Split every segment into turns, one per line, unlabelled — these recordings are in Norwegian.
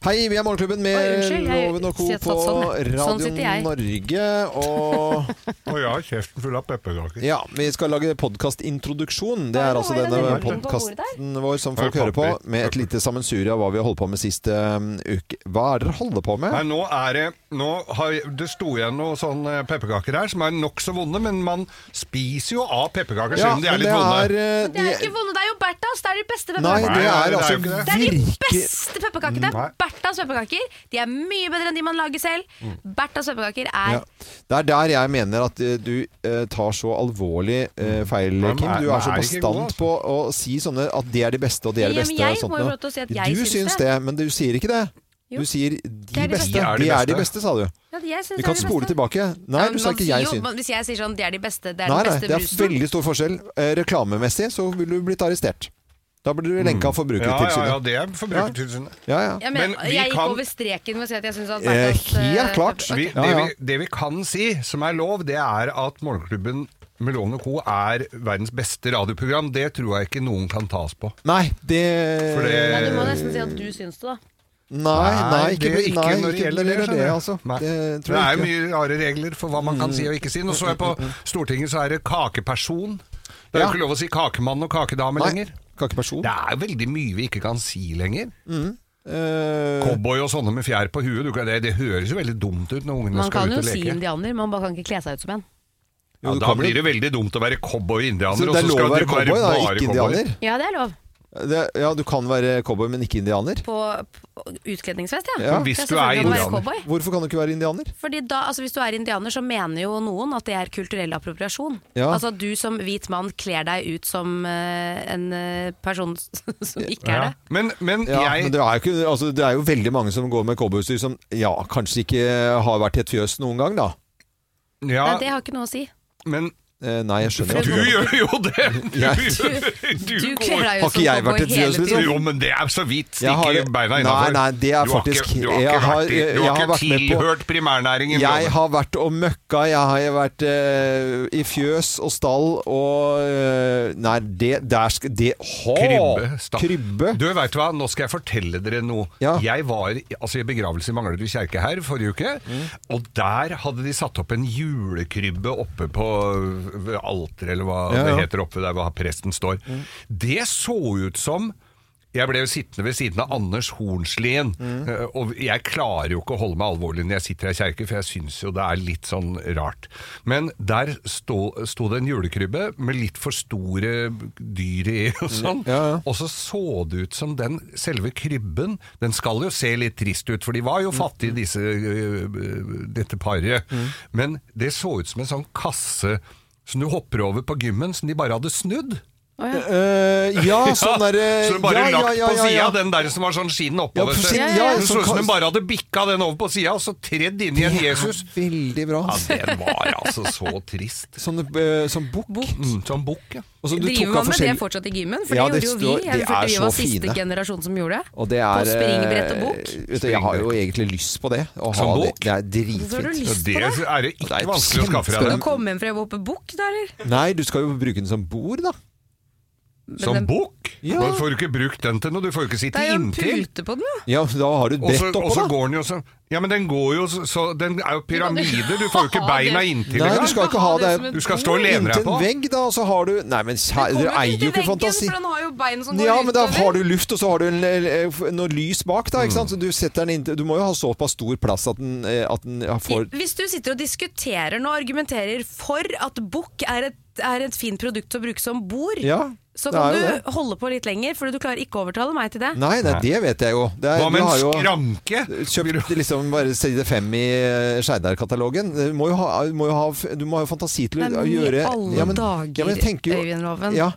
Hei, vi er Morgenklubben med
Oi, unnskyld, jeg
Loven og Co.
sier at
på
satt sånn, jeg.
Radio
Sånn sitter jeg.
Norge. Og
Og jeg har kjeften full av pepperkaker.
ja, vi skal lage podkastintroduksjon. Det er altså
Hva er det
denne
dere bruker på
podkasten vår som
Hei,
folk hører på,
pappi.
med et lite sammensurie av hva vi har holdt på med sist eh, uke. Hva er det dere holder på
Nei,
med?
nå er det nå har, Det sto igjen noen sånne pepperkaker her som er nokså vonde, men man spiser jo av pepperkaker selv om de er
men
litt vonde.
det er, eh,
Det er jo
de-
ikke vonde, det er jo Berthas! Det er de beste
Nei,
pepperkakene.
Nei, det
det er
er
altså
jo ikke
Det er de
virke...
beste pepperkakene!
Nei.
Berthas pepperkaker. De er mye bedre enn de man lager selv. Berthas pepperkaker er
Mm. Ja. Det er der jeg mener at eh, du eh, tar så alvorlig eh, feil,
Men
Kim.
er-
Du er så
er det ikke god,
bastant
altså?
på å si sånne at det er de beste og det er de
Ja,
beste.
men jeg
og sånt
må jo
noe.
få lov til å si at jeg
du
syns
syns
det.
det, men du sier ikke det.
Jo.
Du sier de,
er de beste.
beste. De er de,
beste.
beste, sa du.
Ja, jeg synes
Vi
det
kan
er de
spole
beste.
tilbake. Nei,
Ja,
du
men
sa
man
ikke
sier
jeg
jo-
syns.
man- Hvis jeg sier sånn, det er de beste, det er
Nei,
den
nei,
beste
det er
brusen.
veldig stor forskjell. Eh, reklamemessig så ville du blitt arrestert. Da blir du lenka av
Mm. Ja, ja, ja,
Forbrukertilsynet.
det er Forbrukertilsynet.
Ja, ja.
Ja, men,
Men vi
jeg gikk
kan-
over streken med å si at jeg syns at
Eh,
Berthas, eh,
helt klart.
pepper-
Vi,
Ja, ja.
Det, vi, det vi kan si, som er lov, det er at Morgenklubben med Loven og Co. er verdens beste radioprogram. Det tror jeg ikke noen kan tas på.
Nei, det
For det-
Nei, du
Eh,
må nesten si at du syns det, da.
Nei, nei, ikke,
det-
nei, ikke når det gjelder det,
skjønner jeg.
altså.
Nei. det
Det tror
er
jeg
jo
ikke. Mm,
mye rare regler for hva man kan si og ikke si. Nå så jeg på Stortinget, så er det kakeperson. Det er jo
Ja.
ikke lov å si kakemann og kakedame
Nei,
lenger.
kan ikke person.
Det er veldig mye vi ikke kan si lenger.
Mm. Eh,
Cowboy og sånne med fjær på huet, du kan, det, det høres jo veldig dumt ut når ungene
Man
skal
kan
ut
jo
og
si
leke.
indianer, man bare kan ikke kle seg ut som en.
Jo,
ja,
du
da
kan
blir
vel-
det veldig dumt å være
Så
cowboy-indianer, og
det er
så
lov å
skal
være
du være
cowboy, da,
bare
ikke
cowboy.
indianer?
Ja, det er lov.
Det, ja, du kan være cowboy, men ikke indianer.
På, på utkledningsfest, ja.
Ja. Men
hvis
Ja, selvfølgelig
du er
kan være
indianer.
cowboy.
Hvorfor kan du ikke være indianer?
Fordi da, altså Hvis du er indianer, så mener jo noen at det er kulturell appropriasjon.
Ja.
Altså at du som hvit mann kler deg ut som eh, en eh, person s- som ikke er
Ja.
det.
Men, men
Ja,
jeg
men det er, jo ikke, altså, det er jo veldig mange som går med cowboyutstyr som ja, kanskje ikke har vært i et fjøs noen gang, da.
ja,
Nei, det har ikke noe å si.
men
Eh, nei, jeg skjønner
du
at du-
gjør jo det! Du, du,
Du
går
kler deg
Har
ut
ikke
som
jeg vært
cowboy
et
hele
fjøs, liksom?
tiden.
Jo, men det er så vidt.
Jeg har
Stikker
det-
beina
Nei,
innafor.
nei, det er
du har
faktisk-
ikke, du har
jeg
ikke,
har-
vært, i- du
jeg
har
har
ikke
vært med på-
tilhørt primærnæringen.
Jeg
Loven.
har vært og møkka, jeg har vært eh, i fjøs og stall og eh, Nei, det der skal det, hå,
Krybbe. stapp.
Krybbe.
Du vet hva, nå skal jeg fortelle dere noe.
Ja.
Jeg var i- altså, i begravelse i Manglerud kirke her forrige uke,
Mm.
og der hadde de satt opp en julekrybbe oppe på øh, alteret, eller hva
Ja, ja.
det heter oppe der hvor presten står.
Mm.
Det så ut som jeg ble jo sittende ved siden av Anders Hornslien,
Mm.
eh, og jeg klarer jo ikke å holde meg alvorlig når jeg sitter i ei kjerke, for jeg syns jo det er litt sånn rart. Men der sto, sto det en julekrybbe med litt for store dyr i og sånn,
Ja, ja.
og så så det ut som den selve krybben Den skal jo se litt trist ut, for de var
Mm.
jo fattige, disse, øh, øh, dette paret. Men det så ut som en sånn kasse som du hopper over på gymmen, som de bare hadde snudd.
Eh, ja, sånn derre
Så du bare
ja,
lagt
ja, ja,
på
ja,
sida
ja.
den der som var sånn skinn
Ja,
oppover.
på
så-
siden,
Ja, ja,
ja,
det så ut som
sånn
den bare hadde bikka den over på sida, og så tredd inn i en Jesus.
kast- Veldig bra.
Ja, den var altså så trist.
Sånn, eh, sånn bukk.
Mm, som bukk, ja.
Og som du
Driver
tok av
man med det
forskjell-
fortsatt i gymmen? For
Ja,
det
det
gjorde jo
står-
vi.
de
Jeg
er
følte vi
så
var siste
fine.
generasjon som gjorde det.
Og det er,
På springbrett og
eh,
bok.
Vet du, jeg har jo egentlig lyst på det. Å ha
Som
det.
bok?
det er
Så har du
dritfint.
Ja,
lyst på det.
Det er det
Det er
ikke vanskelig å skaffe deg
Skal
den.
du komme hjem fra jobb med bukk, da, eller?
Nei, du skal jo bruke den som bord, da.
Som bukk?
Ja.
Da får du ikke brukt den til noe, du får ikke sitte
Det er jo en
inntil.
pute på den, jo.
Ja, da har du et
Og så
brett
og så
oppå, da.
går den jo så Ja, men den går jo så- så Den er jo pyramide, du får jo ikke
Ha det.
beina inntil liksom.
Nei, du
engang.
skal ikke ha det
som et
Du skal stå og lene deg
inntil en
på.
vegg, da, og så har du Nei, men kjære, dere eier jo ikke fantasi.
For den har jo bein som går
Ja, men da
utover.
har du luft, og så har du en, eh, f- noe lys bak, da. Ikke sant? Så du, setter den inntil, du må jo ha såpass stor plass at den, eh, at den ja, får
Hvis du sitter og diskuterer nå og argumenterer for at bukk er et, er et fint produkt å bruke som bord,
Ja.
så
det er
kan
jo
du
det.
holde på litt lenger, for du klarer ikke å overtale meg til det.
Nei, nei, det vet jeg jo. Det er,
Hva med
du har jo-
en skranke? Vil
Kjøpt
du-
liksom bare side fem i eh, Skeidar-katalogen. Du må jo ha, må jo ha, f- du må ha fantasi til å
Men i
gjøre
alle
Ja, men-
dager,
ja, men jeg tenker jo-
Øyvind Loven.
Ja,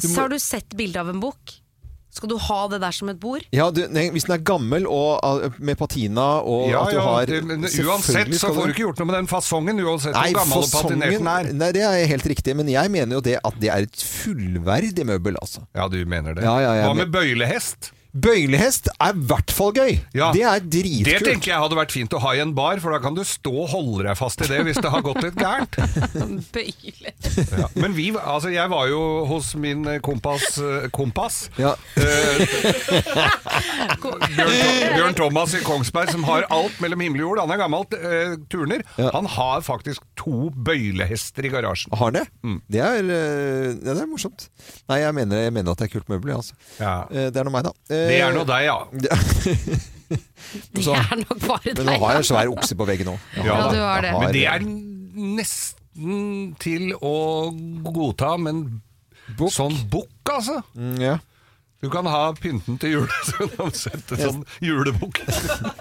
du
Så
må-
har du sett bilde av en bukk. Skal du ha det der som et bord?
ja du, nei, hvis den er gammel og ah, med patina og
Ja,
at du
ja,
har
det, men
selvfølgelig
uansett så
skal
får du ikke gjort noe med den fasongen, uansett
Nei,
hvor gammel og patinert den er.
fasongen Nei, det er helt riktig, men jeg mener jo det at det er et fullverdig møbel, altså.
Ja, du mener det.
Ja, ja, ja,
Hva
men-
med bøylehest?
Bøylehest er i hvert fall gøy.
Ja.
Det er dritkult.
Det tenker jeg hadde vært fint å ha i en bar, for da kan du stå og holde deg fast i det hvis det har gått litt gærent.
Bøyle.
Ja. Men vi, altså jeg var jo hos min eh, kompas, kompass,
Ja.
Bjørn, Tho- Bjørn Thomas i Kongsberg, som har alt mellom himmel og jord. Han er gammel eh, turner.
Ja.
Han har faktisk to bøylehester i garasjen.
Har det?
Mm.
Det, er, eh, ja, det er morsomt. Nei, jeg mener, jeg mener at det er kult møbel. jeg, Altså.
Ja.
Eh, Det er nå meg, da.
Det er nå deg, ja.
Det
Så-
er nok bare deg.
Men nå har jeg en svær okse på veggen òg.
Ja,
du har det.
Men det er nesten til å godta, men
Bukk.
sånn bukk, altså.
Mm, ja.
Du kan ha pynten til jul, så kan han sette sånn julebukk.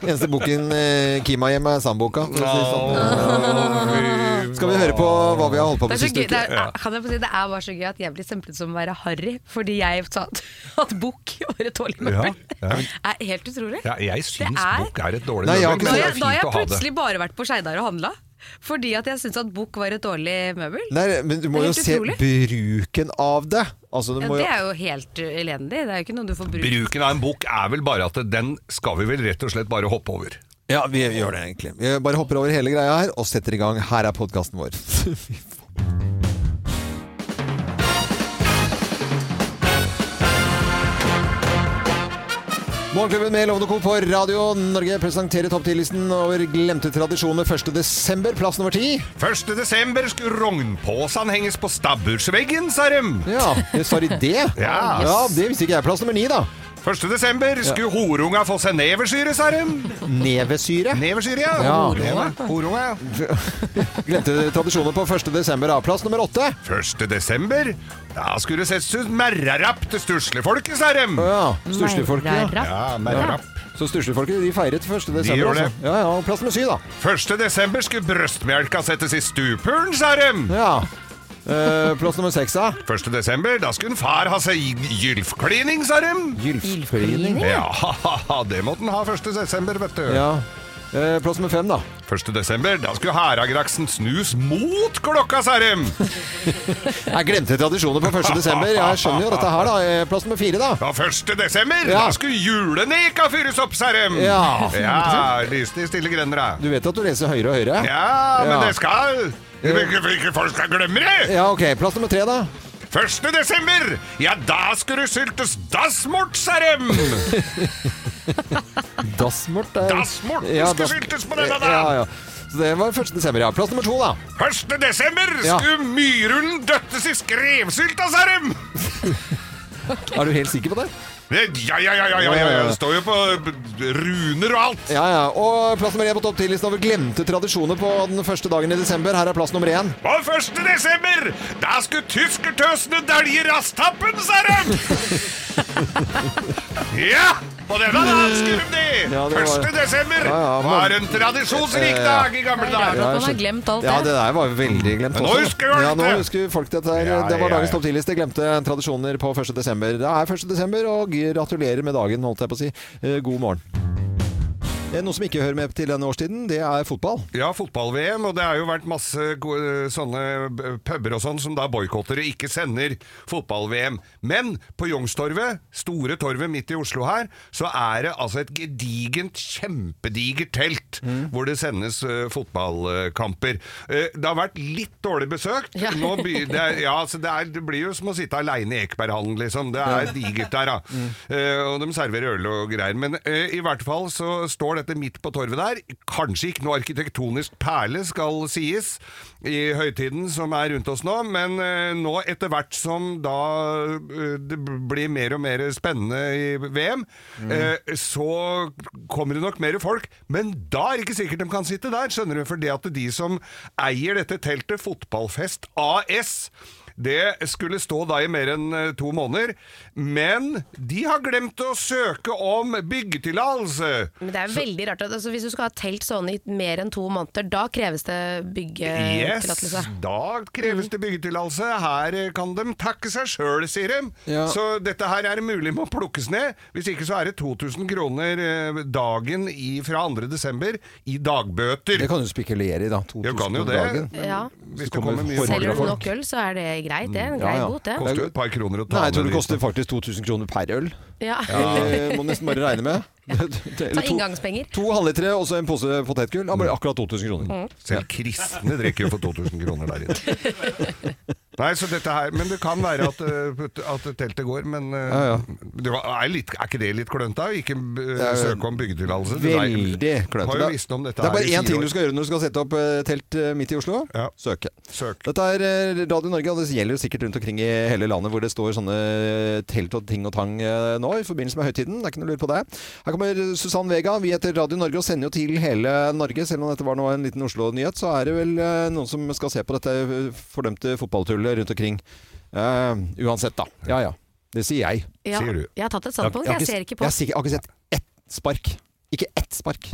Eneste boken eh, Kim har hjemme, er Sandboka. for å si det sånn. Eh,
Åh, fy
Skal vi høre på hva vi har holdt på
Det
med
er, så
siste
gøy, det,
uke?
er, kan jeg få si, det er bare så gøy at jeg blir stemplet som å være harry fordi jeg sa at, at bukk var et dårlig møbel.
Ja,
Det
ja.
er helt utrolig.
Ja, jeg syns
er-
bukk er et dårlig
Nei, jeg har
møbel,
ikke
men
Da
sett-
det
har
er
jeg, da har jeg
fint å ha det.
plutselig bare vært på Skeidar og handla fordi at jeg syntes at bukk var et dårlig møbel.
Nei, men du må
Det er
jo
helt
se
utrolig.
bruken av det. Altså, du
Ja,
må
det
jo
er jo helt uh, elendig. Det er jo ikke noe du får bruke.
Bruken av en bukk er vel bare at den skal vi vel rett og slett bare hoppe over.
Ja, vi gjør det egentlig. Vi bare hopper over hele greia her og setter i gang. Her er podkasten vår. Fy faen. Morgenklubben med Lovende Co. på Radio Norge presenterer topp 10-listen over glemte tradisjoner 1.12. Plass nummer 10.
1. desember skulle rognposen henges på stabbursveggen, sa dem.
Ja, sorry, det.
Ja.
ja, det visste ikke jeg. Plass nummer 9, da.
1. desember skulle horunga få seg neversyre, sa dem.
Nevesyre.
Neversyre, ja.
Ja.
Horunga. Horunga, ja.
Glemte tradisjoner på 1.12. da. Plass nummer 8.
1. desember, da skulle det settes ut merrerapp til stuslefolket, sa dem.
Ja, Stuslefolket. Ja.
Ja, merrerapp.
Så stuslefolket de feiret 1. desember.
gjør det.
Altså. Ja, ja, og plass med sy, da.
1. desember skulle brøstmelka settes i stupuren, sa dem.
Ja. Eh, plass nummer seks, da.
1. desember, da skulle far ha seg gylfklining, sa dem.
Gylfklining.
Ja, det måtte han ha 1. desember, vet du.
Ja. Eh, plass nummer fem, da.
1. desember, da skulle Haragraksen snus mot klokka, sa dem.
Jeg glemte tradisjoner på 1. desember. Jeg skjønner jo dette her, da. Eh, Plass nummer fire, da.
Ja, 1. desember,
Ja.
da skulle juleneka fyres opp, sa dem.
Ja.
ja lyste i stille grender, da.
Du vet at du leser høyere og høyere?
Ja, men
Ja.
det skal Hvilke, hvilke folk skal glemme det?
Ja, ok. Plass nummer tre, da.
1. desember! Ja, da skulle det syltes dassmort, sa dem!
Dassmort er
Dassmorten skal skyldes på denne, da.
Ja, ja. Så det var 1. desember, ja. Plass nummer to, da.
1. desember
Ja.
skulle myrullen døttes i skrevsylta, sa dem!
Er du helt sikker på det?
Det- Ja, ja, ja, ja, ja, ja, ja. Det står jo på b- runer og alt.
Ja, ja. Og plass nummer én på topp 10-listen over glemte tradisjoner på den første dagen i desember. Her er plass nummer én.
Og 1. desember, da skulle tyskertøsene dælje rasstappen, sa dem! ja! Og denne da, skulle de det!
Ja, det var-
1. desember
Ja, ja, men-
var en tradisjonsrik
Eh, ja.
dag i gamle
Rart
dager.
Ja, jeg
at man har
skjønte.
glemt alt
Ja,
det.
det der var veldig glemt.
Men nå
også, da.
husker vi alt
ja, nå
det.
husker folk dette. her.
Ja,
det var
ja, ja.
dagens topp 10-liste. Glemte tradisjoner på 1. desember. Det er 1. desember, og gratulerer med dagen, holdt jeg på å si. Eh, God morgen. Eh, Noe som ikke hører med til denne årstiden, det er fotball.
Ja, fotball-VM, og det har jo vært masse gode, sånne b- puber og sånn som da boikotter og ikke sender fotball-VM. Men på Youngstorget, Store Torvet midt i Oslo her, så er det altså et gedigent, kjempedigert telt hvor det sendes eh, fotballkamper. Eh, det har vært litt dårlig besøkt.
Ja.
Nå by, det, er, ja, altså det, er, det blir jo som å sitte aleine i Ekeberghallen, liksom. Det er digert der, da. Eh, og de serverer øl og greier. Men eh, i hvert fall så står dette midt på torvet der. Kanskje ikke noe arkitektonisk perle, skal sies, i høytiden som er rundt oss nå. Men eh, nå etter hvert som da eh, det blir mer og mer spennende i VM, eh, så kommer det nok mer folk. Men da er det ikke sikkert de kan sitte der, skjønner du. For det at de som eier dette teltet, Fotballfest AS det skulle stå da i mer enn eh, to måneder, men de har glemt å søke om byggetillatelse.
Men det er veldig rart at altså, Hvis du skal ha telt sånn i mer enn to måneder, da kreves det
Eh,
Yes,
byggetillatelse.
da
Mm.
kreves det byggetillatelse. Her eh, kan de takke seg sjøl, sier de.
Ja.
Så dette her er det mulig med å plukkes ned. Hvis ikke så er det 2000 kroner eh, dagen i, fra 2. desember i dagbøter.
Det kan du spekulere i, da. 2000
Jeg kan jo
om
det.
dagen.
Ja.
Hvis
det
det
kommer
kommer mye
horder
Selger
av
du
folk.
nok øl, så er det greit. Det er en grei
Ja, ja.
bot, det.
Koster jo et par kroner å ta
Nei, jeg tror
med dit.
det koster faktisk 2000 kroner per øl.
Ja.
Det må nesten bare regne med.
Ta inngangspenger.
To halvlitere og så en pose potetgull. Ja, bare akkurat 2000
Mm.
kroner.
Selv kristne drikker jo for 2000 kroner der inne. Nei, så dette her, Men det kan være at, eh, at teltet går, men eh,
Ja, ja.
Det var, er, litt, er ikke det litt klønt da? Ikke eh,
er
søke om byggetillatelse? Du, nei,
Veldig klønete.
Har jo visst om dette
det er bare
her i
én
fire
ting
år.
du skal gjøre når du skal sette opp eh, telt eh, midt i Oslo.
Ja.
Søke.
Søk.
Dette er eh, Radio Norge, og det gjelder jo sikkert rundt omkring i hele landet hvor det står sånne eh, telt og ting og tang eh, nå i forbindelse med høytiden. Det er ikke noe lurt på det. Her kommer Susann Vega. Vi heter Radio Norge og sender jo til hele Norge. Selv om dette var nå en liten Oslo-nyhet, så er det vel eh, noen som skal se på dette eh, fordømte fotballtullet rundt omkring. Eh, uansett, da. Ja ja. Det sier jeg.
Ja.
Sier du.
Jeg har tatt et standpunkt, jeg ser ikke på.
Jeg har, sikkert- jeg har ikke sett ett spark. Ikke ett spark.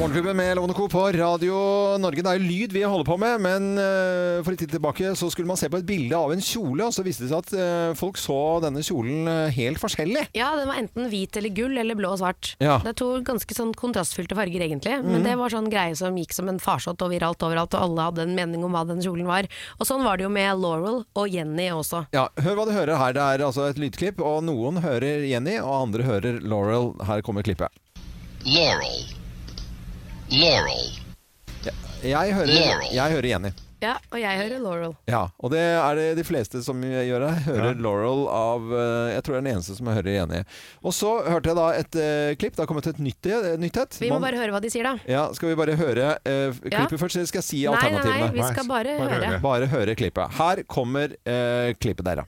Morgenklubben med Lovende Co. på Radio Norge. Det er jo lyd vi holder på med, men eh, for en tid tilbake så skulle man se på et bilde av en kjole, og så viste det seg at eh, folk så denne kjolen eh, helt forskjellig.
Ja, den var enten hvit eller gull eller blå og svart.
Ja. Mhm.
Det er to ganske sånn kontrastfylte farger egentlig, men det var sånn greie som gikk som en farsott overalt overalt, og alle hadde en mening om hva den kjolen var. Og sånn var det jo med Laurel og Jenny også.
Ja, Hør hva du hører her. Det er altså et lydklipp, og noen hører Jenny, og andre hører Laurel. Her kommer klippet.
Laurel. Laurel.
Jeg hører,
Laurel.
jeg hører Jenny.
Ja, og jeg hører Laurel.
Ja, og det er det de fleste som gjør det. Hører Laurel av eh, Jeg tror jeg er den eneste som hører igjen i. Og så hørte jeg da et eh, klipp. Det har kommet et nytt, eh, nytthet.
Vi må
Man-
bare høre hva de sier da.
ja, skal vi bare høre eh,
Ja.
klippet først, eller skal jeg si
Nei, nei, nei,
alternativene?
vi skal bare
Bare
høre.
høre.
Bare høre klippet. Her kommer eh, klippet der, da.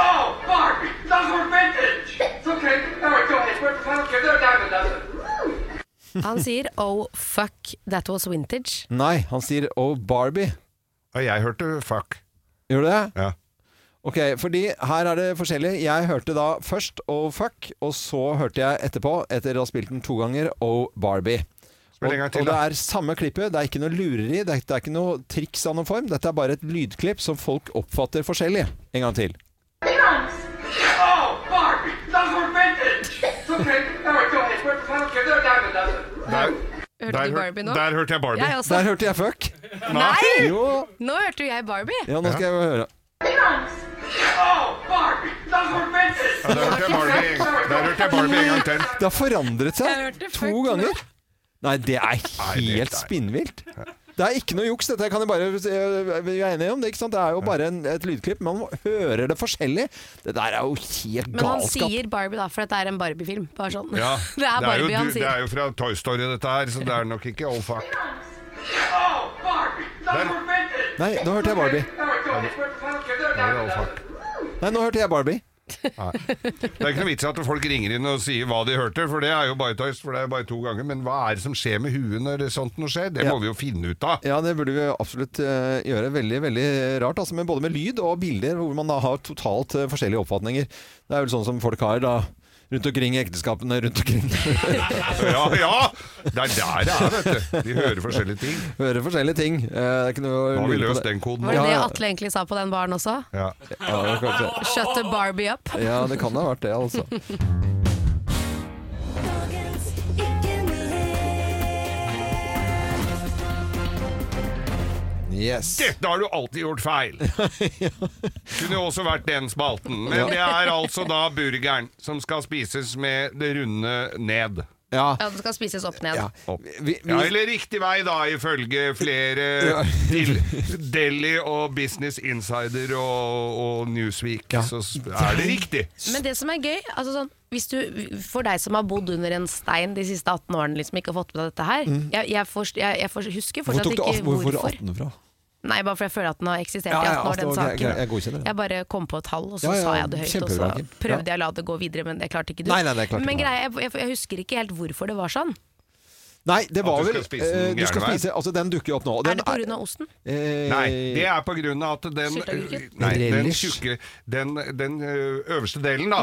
Oh, fuck! Those were vintage! It's okay. All right, go ahead. Where's the final gift? They're a dime a dozen.
Han sier oh fuck, that was vintage.
Nei, han sier 'Oh, Barbie'.
Ja, jeg hørte fuck.
Gjør du det?
Ja.
Ok, fordi her er det forskjellig. Jeg hørte da først Oh Fuck, og så hørte jeg etterpå, etter å ha spilt den to ganger, Oh Barbie.
Spill en gang til,
og det
da.
er samme klippet, det er ikke noe lureri, det er, det er ikke noe triks av noen form. Dette er bare et lydklipp som folk oppfatter forskjellig. En gang til.
Oh, fuck! Those were vintage! It's okay. All right, go ahead. Where's the final gift? They're a dime a dozen.
Der,
Hørte
der,
du
hør-
Barbie nå?
der hørte jeg Barbie.
Jeg også.
Der hørte jeg fuck.
Nei!
Jo,
Nå hørte jo jeg Barbie.
ja, nå skal jeg høre.
Oh, fuck! Those were vintage!
Der hørte jeg Barbie, der hørte jeg Barbie en gang til.
Det har forandret
Jeg
seg
hørte fuck
to
nå.
ganger. Nei, det er
det er-
helt spinnvilt. Det er ikke noe juks, dette kan jeg bare Vi er enige om det, ikke sant? Det er jo bare en, et lydklipp, men man hører det forskjellig. Det der er jo helt
Men han
galskap.
sier Barbie da, for dette er en Barbie-film. Bare sånn.
Ja,
det er
jo,
Barbie han
du- det
sier.
er jo fra Toy Story, dette her, så det er nok ikke old fuck.
Oh, fuck! Those were vintage!
Nei, nå hørte jeg Barbie.
All right, go ahead. Where's the final gift? They're a dime
Nå er
a
det
dozen.
old fuck.
Nei, nå hørte jeg Barbie.
Det er ikke noe vits i at folk ringer inn og sier hva de hørte, for det er jo bare tøys, for det er bare to ganger. Men hva er det som skjer med huet når det sånt noe skjer? Det
Ja.
må vi jo finne ut av.
Ja, det burde vi absolutt eh, gjøre. Veldig veldig rart. Altså, men både med lyd og bilder, hvor man da har totalt eh, forskjellige oppfatninger. Det er vel sånn som folk har da rundt omkring i ekteskapene rundt omkring.
Ja, ja! Det er der det er, vet du. De hører forskjellige ting.
Hører forskjellige ting. Eh, det er ikke noe å
Nå har vi
lure på
løst
det.
den koden.
Var det
Ja,
det
ja.
Atle egentlig sa på den baren også?
Ja.
Ja, det er kanskje-
Shut the Barbie up.
ja, det kan ha vært det, altså.
Dagens ikke-nyhet.
Yes.
Dette har du alltid gjort feil! Kunne jo også vært den spalten. Men det er altså da burgeren som skal spises med det runde ned.
Ja.
Ja, den skal spises opp ned.
ja. Vi, vi,
Ja, eller riktig vei da, ifølge flere
Ja.
til Delhi og Business Insider og, og Newsweek,
Ja.
så s- er det riktig.
Men det som er gøy, altså sånn, hvis du, for deg som har bodd under en stein de siste 18 årene liksom ikke har fått med deg dette her jeg, jeg, forst- jeg, jeg forst- husker
hvor
fortsatt
Mm. tok du
ikke
18, hvor, hvor
hvorfor.
18 fra?
Nei, bare fordi jeg føler at den har eksistert
Ja,
i
ja,
18 år, den
altså, ok,
saken.
jeg- jeg godkjenner det.
Jeg bare kom på et tall, og så
Ja, ja,
sa jeg det høyt. Og så
kjempebra, Kim.
prøvde
Ja.
jeg å la det gå videre, men det klarte ikke du.
Nei, nei, det klarte ikke
men
du.
greia, jeg, jeg, jeg husker ikke helt hvorfor det var sånn.
Nei, det var
du skal
vel
spise den
eh, Du skal
gærne veien.
spise Altså, den dukker jo opp nå. og
er
Den
det pga. osten?
eh,
Nei, det er på grunn av at den, eh,
Sylteagurken?
nei, den
Relish.
tjukke Den, den ø, øverste delen, da.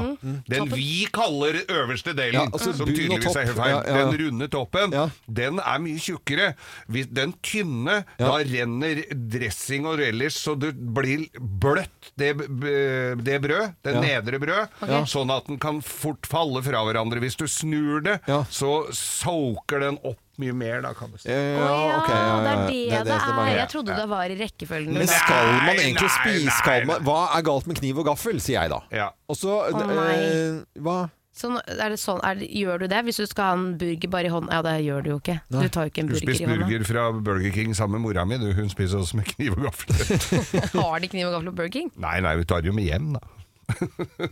Den vi kaller øverste delen,
Mm. Ja, altså
som
bunn og
tydeligvis
topp.
er helt feil.
Ja, ja, ja.
Den runde toppen,
Ja.
den er mye tjukkere. Hvis den tynne, da renner dressing og relish så det blir bløtt, det, b- b- det brød. Det nedre brød. Sånn at den kan fort falle fra hverandre. Hvis du snur det,
Ja.
så soaker den opp mye mer, da, kan du si.
Eh,
Å ja,
ok,
det er det det,
som
er.
er-
Jeg trodde det var i rekkefølgen.
Men
Men,
skal man
Nei,
egentlig
nei,
spise
nei,
skal man,
nei.
Hva er galt med kniv og gaffel, sier jeg da.
Ja.
Og så
Å, nei.
eh, Hva?
sånn, er det sånn, er det, gjør du det hvis du skal ha en burger bare i hånda? Ja, det gjør du jo ikke. Du tar jo ikke en
Du
burger
spiste
i hånda.
burger fra Burger King sammen med mora mi, du. Hun spiser også med kniv og gaffel.
Har de kniv og gaffel på Burger King?
nei, nei, vi tar det jo med hjem, da.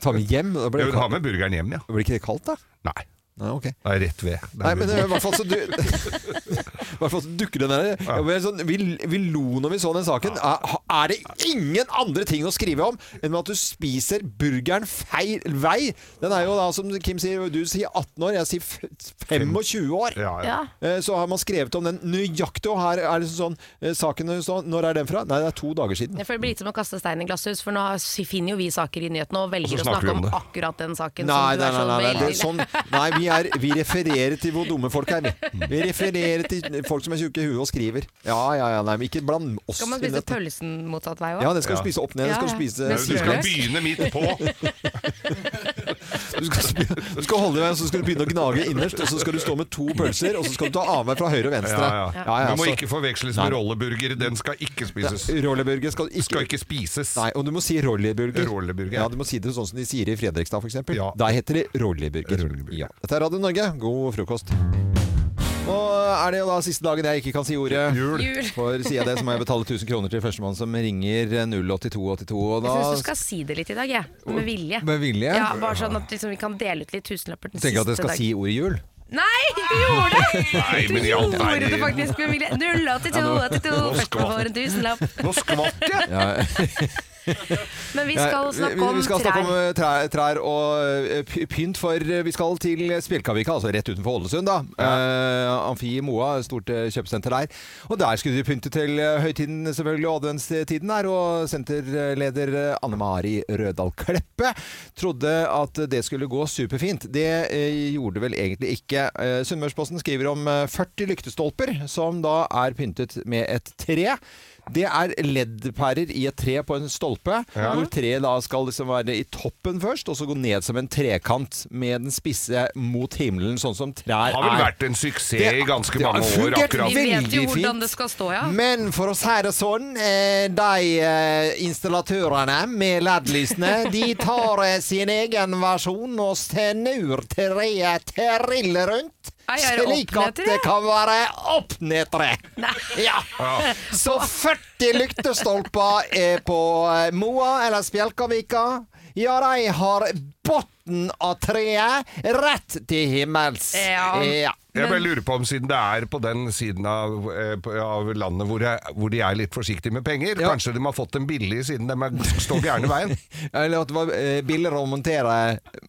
Ta med hjem? Da blir
Ja,
det,
Hun har
kaldt.
med burgeren hjem, ja.
blir ikke det kaldt, da?
Nei,
Nei, ok.
det er rett ved. Det er
Nei, men
hun-
eh, i hvert fall så, du, i hvert fall så dukker den der ja. men sånn, vi, vi lo når vi så den saken. Er, er det ingen andre ting å skrive om enn at du spiser burgeren feil vei? Den er jo da, som Kim sier, du sier 18 år, jeg sier f- 25 år.
ja, ja.
Ja.
Eh, Så har man skrevet om den nøyaktig, og her er det sånn eh, Saken så, Når er den fra? Nei, det er to dager siden.
Jeg føler det blir litt som å kaste stein i glasshus, for nå finner jo vi saker i nyhetene og velger
Og så
å
snakker
snakke
vi om
om
det.
akkurat den saken.
Nei,
som du
nei,
er
nei,
sånn
nei, nei, det
veldig-
er sånn, nei vi, er, vi refererer til hvor dumme folk er. vi. Vi refererer til folk som er tjukke i huet og skriver. Ja, ja, ja, nei, men ikke bland oss
Skal man
inn i
spise
dette.
pølsen motsatt vei òg?
Ja, den skal du spise opp ned. Den skal du
Ja, ja.
spise
Men
Du skal
Løk?
begynne midt på.
du skal, spi- du skal holde deg, så skal du begynne å gnage innerst, og så skal du stå med to pølser, og så skal du ta annenhver fra høyre og venstre.
Ja, ja.
ja,
Du må
så-
ikke forveksles
Nei.
med rolleburger. Den skal ikke spises.
Rolleburger skal ikke,
Skal ikke spises.
Nei, og du må si rolleburger.
Rolleburger.
Ja, du må si det sånn som de sier i Fredrikstad, f.eks.
Ja.
Der heter det rolleburger.
Rolleburger.
Ja. Dette er Radio Norge, god frokost. Nå er det jo da siste dagen jeg ikke kan si ordet.
Jul.
For sier jeg det, så må jeg betale 1000 kroner til førstemann som ringer 08282. Og da
Jeg syns du skal si det litt i dag, jeg. Med vilje.
med vilje
Ja, bare sånn at liksom, vi kan dele ut litt tusenlapper den
tenker jeg at
siste
jeg skal
dag.
si ordet jul.
Nei, du gjorde det!
Nei, men
Du
i all
gjorde det
verden.
faktisk med vilje. 082 82
nå
Først man
skvatt.
får en tusenlapp.
Nå skvatt jeg!
Men vi skal snakke om
vi, vi skal
trær.
snakke om eh, trær, trær og eh, py- pynt, for eh, vi skal til Spjelkavika, altså rett utenfor Ålesund. da. Eh, Amfi i Moa, stort eh, kjøpesenter der. Og der skulle de pynte til eh, høytiden selvfølgelig, og adventstiden der. Og senterleder eh, Anne Mari Rødal Kleppe trodde at det skulle gå superfint. Det eh, gjorde det vel egentlig ikke. Eh, Sunnmørsposten skriver om eh, 40 lyktestolper som da er pyntet med et tre. Det er LED-pærer i et tre på en stolpe, hvor treet da skal liksom være i toppen først, og så gå ned som en trekant med den spisse mot himmelen, sånn som trær er.
Har vel vært en suksess i ganske mange år, akkurat.
Vi vet jo hvordan det skal stå, ja.
Men for å si det sånn, eh, de eh, installatørene med LED-lysene, de tar eh, sin egen versjon og snur treet trill rundt.
Nei, er det
Slik at
oppnedtre?
det kan være oppnedtre. Ja. Så 40 lyktestolper er på eh, Moa eller Spjelkavika. Ja, de har bunnen av treet rett til himmels.
Ja.
ja.
Jeg bare lurer på om siden det er på den siden av, eh, på- av landet hvor, jeg, hvor de er litt forsiktige med penger,
Ja.
kanskje de har fått dem billig siden de er, står gærne veien.
Eller at det var eh, billigere å montere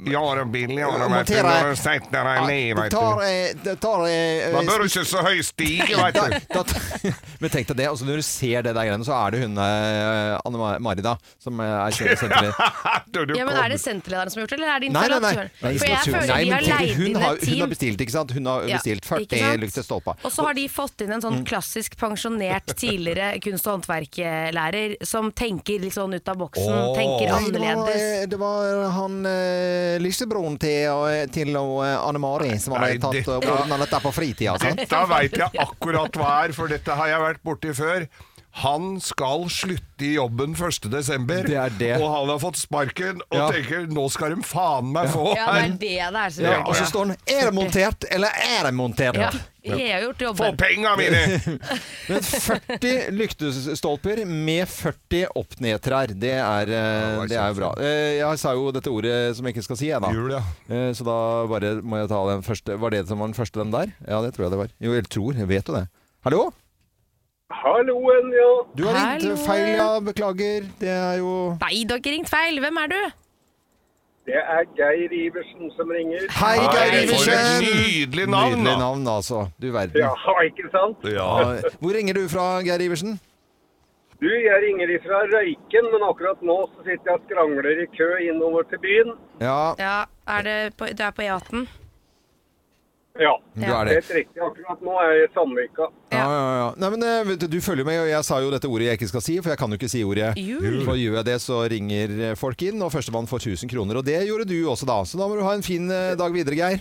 Ja, det er billig, ja, det vet
å
du.
montere-
Nå er det sent når jeg er
Ja,
ned,
det
vet
tar,
du.
eh, det tar eh,
Man bør ikke så høy stige, vet
da,
du.
da, men tenk deg det, altså når du ser det der greiene, så er det hun eh, Anne Mari da, som eh, er kjøresenteret.
Du, du
ja. Men er det
kommer.
senterlederen som har gjort det, eller er det
Nei, nei, nei.
installatøren?
Nei,
For jeg føler
nei,
de
men
har
tenk-
leid
hun,
inn
har,
et
hun har
team.
bestilt, ikke sant? Hun har
Ja,
bestilt
ikke
40
sant?
lyktestolper.
Og så har de fått inn en
Mm.
sånn klassisk pensjonert tidligere kunst- og håndverklærer som tenker litt sånn ut av boksen,
Åh.
tenker
Nei, det var,
annerledes.
eh, det var han eh, lillebroren til, eh, til eh, Anne Mari som
Nei,
hadde tatt
det-
og ordna dette på altså. fritida. sant?
Dette veit jeg akkurat hva er, for dette har jeg vært borti før. Han skal slutte i jobben 1.12.,
Det er det.
og han har fått sparken og
Ja.
tenker 'nå skal de faen meg få
Ja, det er
en-
det det er,
Ja, og
selvfølgelig.
så står den Er det montert, eller er det montert?
Ja, jeg har gjort jobben.
Få penga mine!
Men 40 lyktestolper med 40 oppnedtrær, det er, eh, det er jo bra. Eh, Jeg sa jo dette ordet som jeg ikke skal si, jeg da.
Jul, ja.
Eh, Så da bare må jeg ta den første. Var det som var den første, den der? Ja, det tror jeg det var. Jo, jeg tror, jeg vet jo det. Hallo?
Halloen, ja.
Du har ringt
Hallo.
feil, ja. Beklager. Det er jo
Nei, du har ikke ringt feil. Hvem er du?
Det er Geir Iversen som ringer.
Hei, Geir
Nei, For et
Iversen!
nydelig navn,
Nydelig
da!
navn, altså. Du verden.
Ja, ikke sant?
Ja.
Ja. Hvor ringer du fra, Geir Iversen?
Du, jeg ringer ifra Røyken, men akkurat nå så sitter jeg og skrangler i kø innover til byen.
Ja,
Ja, er det på, du er på E18?
Ja,
du er det.
helt riktig. Akkurat nå er jeg i Sandvika.
Ja, ja, ja. Nei, men eh, vet du, du følger med, og jeg sa jo dette ordet jeg ikke skal si, for jeg kan jo ikke si ordet.
Jul.
For gjør jeg det, så ringer eh, folk inn, og førstemann får 1000 kroner. Og det gjorde du også, da. Så da må du ha en fin eh, dag videre, Geir.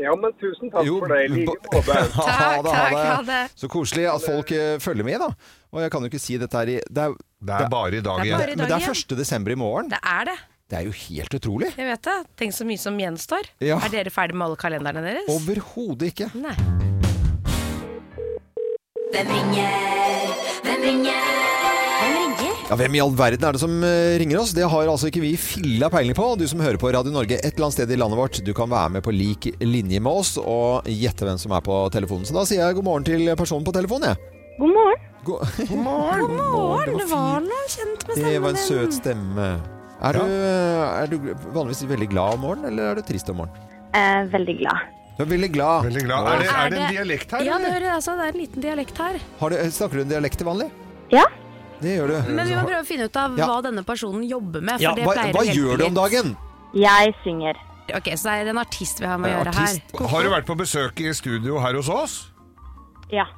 Ja, men tusen takk
Jo,
for det. I like
på-
måte.
Ha det, ha
Takk, takk, ha
det.
det.
Så koselig at folk eh, følger med, da. Og jeg kan jo ikke si dette her i Det er,
Det er bare i
Det
dag
er
igjen.
bare- i
men det
dag
er 1. desember i morgen.
Det er det.
Det er jo helt utrolig.
Jeg vet det. Tenk så mye som gjenstår.
Ja.
Er dere ferdig med alle kalenderne deres?
Overhodet ikke.
Nei.
Hvem ringer? Hvem ringer? Hvem ringer?
Ja, Hvem i all verden er det som eh, ringer oss? Det har altså ikke vi filla peiling på. Du som hører på Radio Norge et eller annet sted i landet vårt, du kan være med på lik linje med oss og gjette hvem som er på telefonen. Så da sier jeg god morgen til personen på telefonen, jeg.
God morgen.
God, morgen. God
Morgen, det var noe kjent med
Det
stemmen
var en
din.
søt stemme. Er, du, eh, er du vanligvis veldig glad om morgenen, eller er du trist om morgenen?
Eh, veldig glad.
Du er veldig glad.
Veldig glad. Er det,
Er
er det en
det-
dialekt her?
Ja, det,
eller?
hører jeg, altså, det er en liten dialekt her.
Har du, snakker du en dialekt til vanlig?
Ja?
Det gjør du.
Men vi må prøve å finne ut av
Ja.
hva denne personen jobber med. For
Ja,
det
hva,
pleier å
hva
hjelpe
gjør du om
litt.
dagen?
Jeg synger.
Ok, Så det er en artist vi har med å gjøre her.
Artist.
Har du vært på besøk i studio her hos oss?
Ja.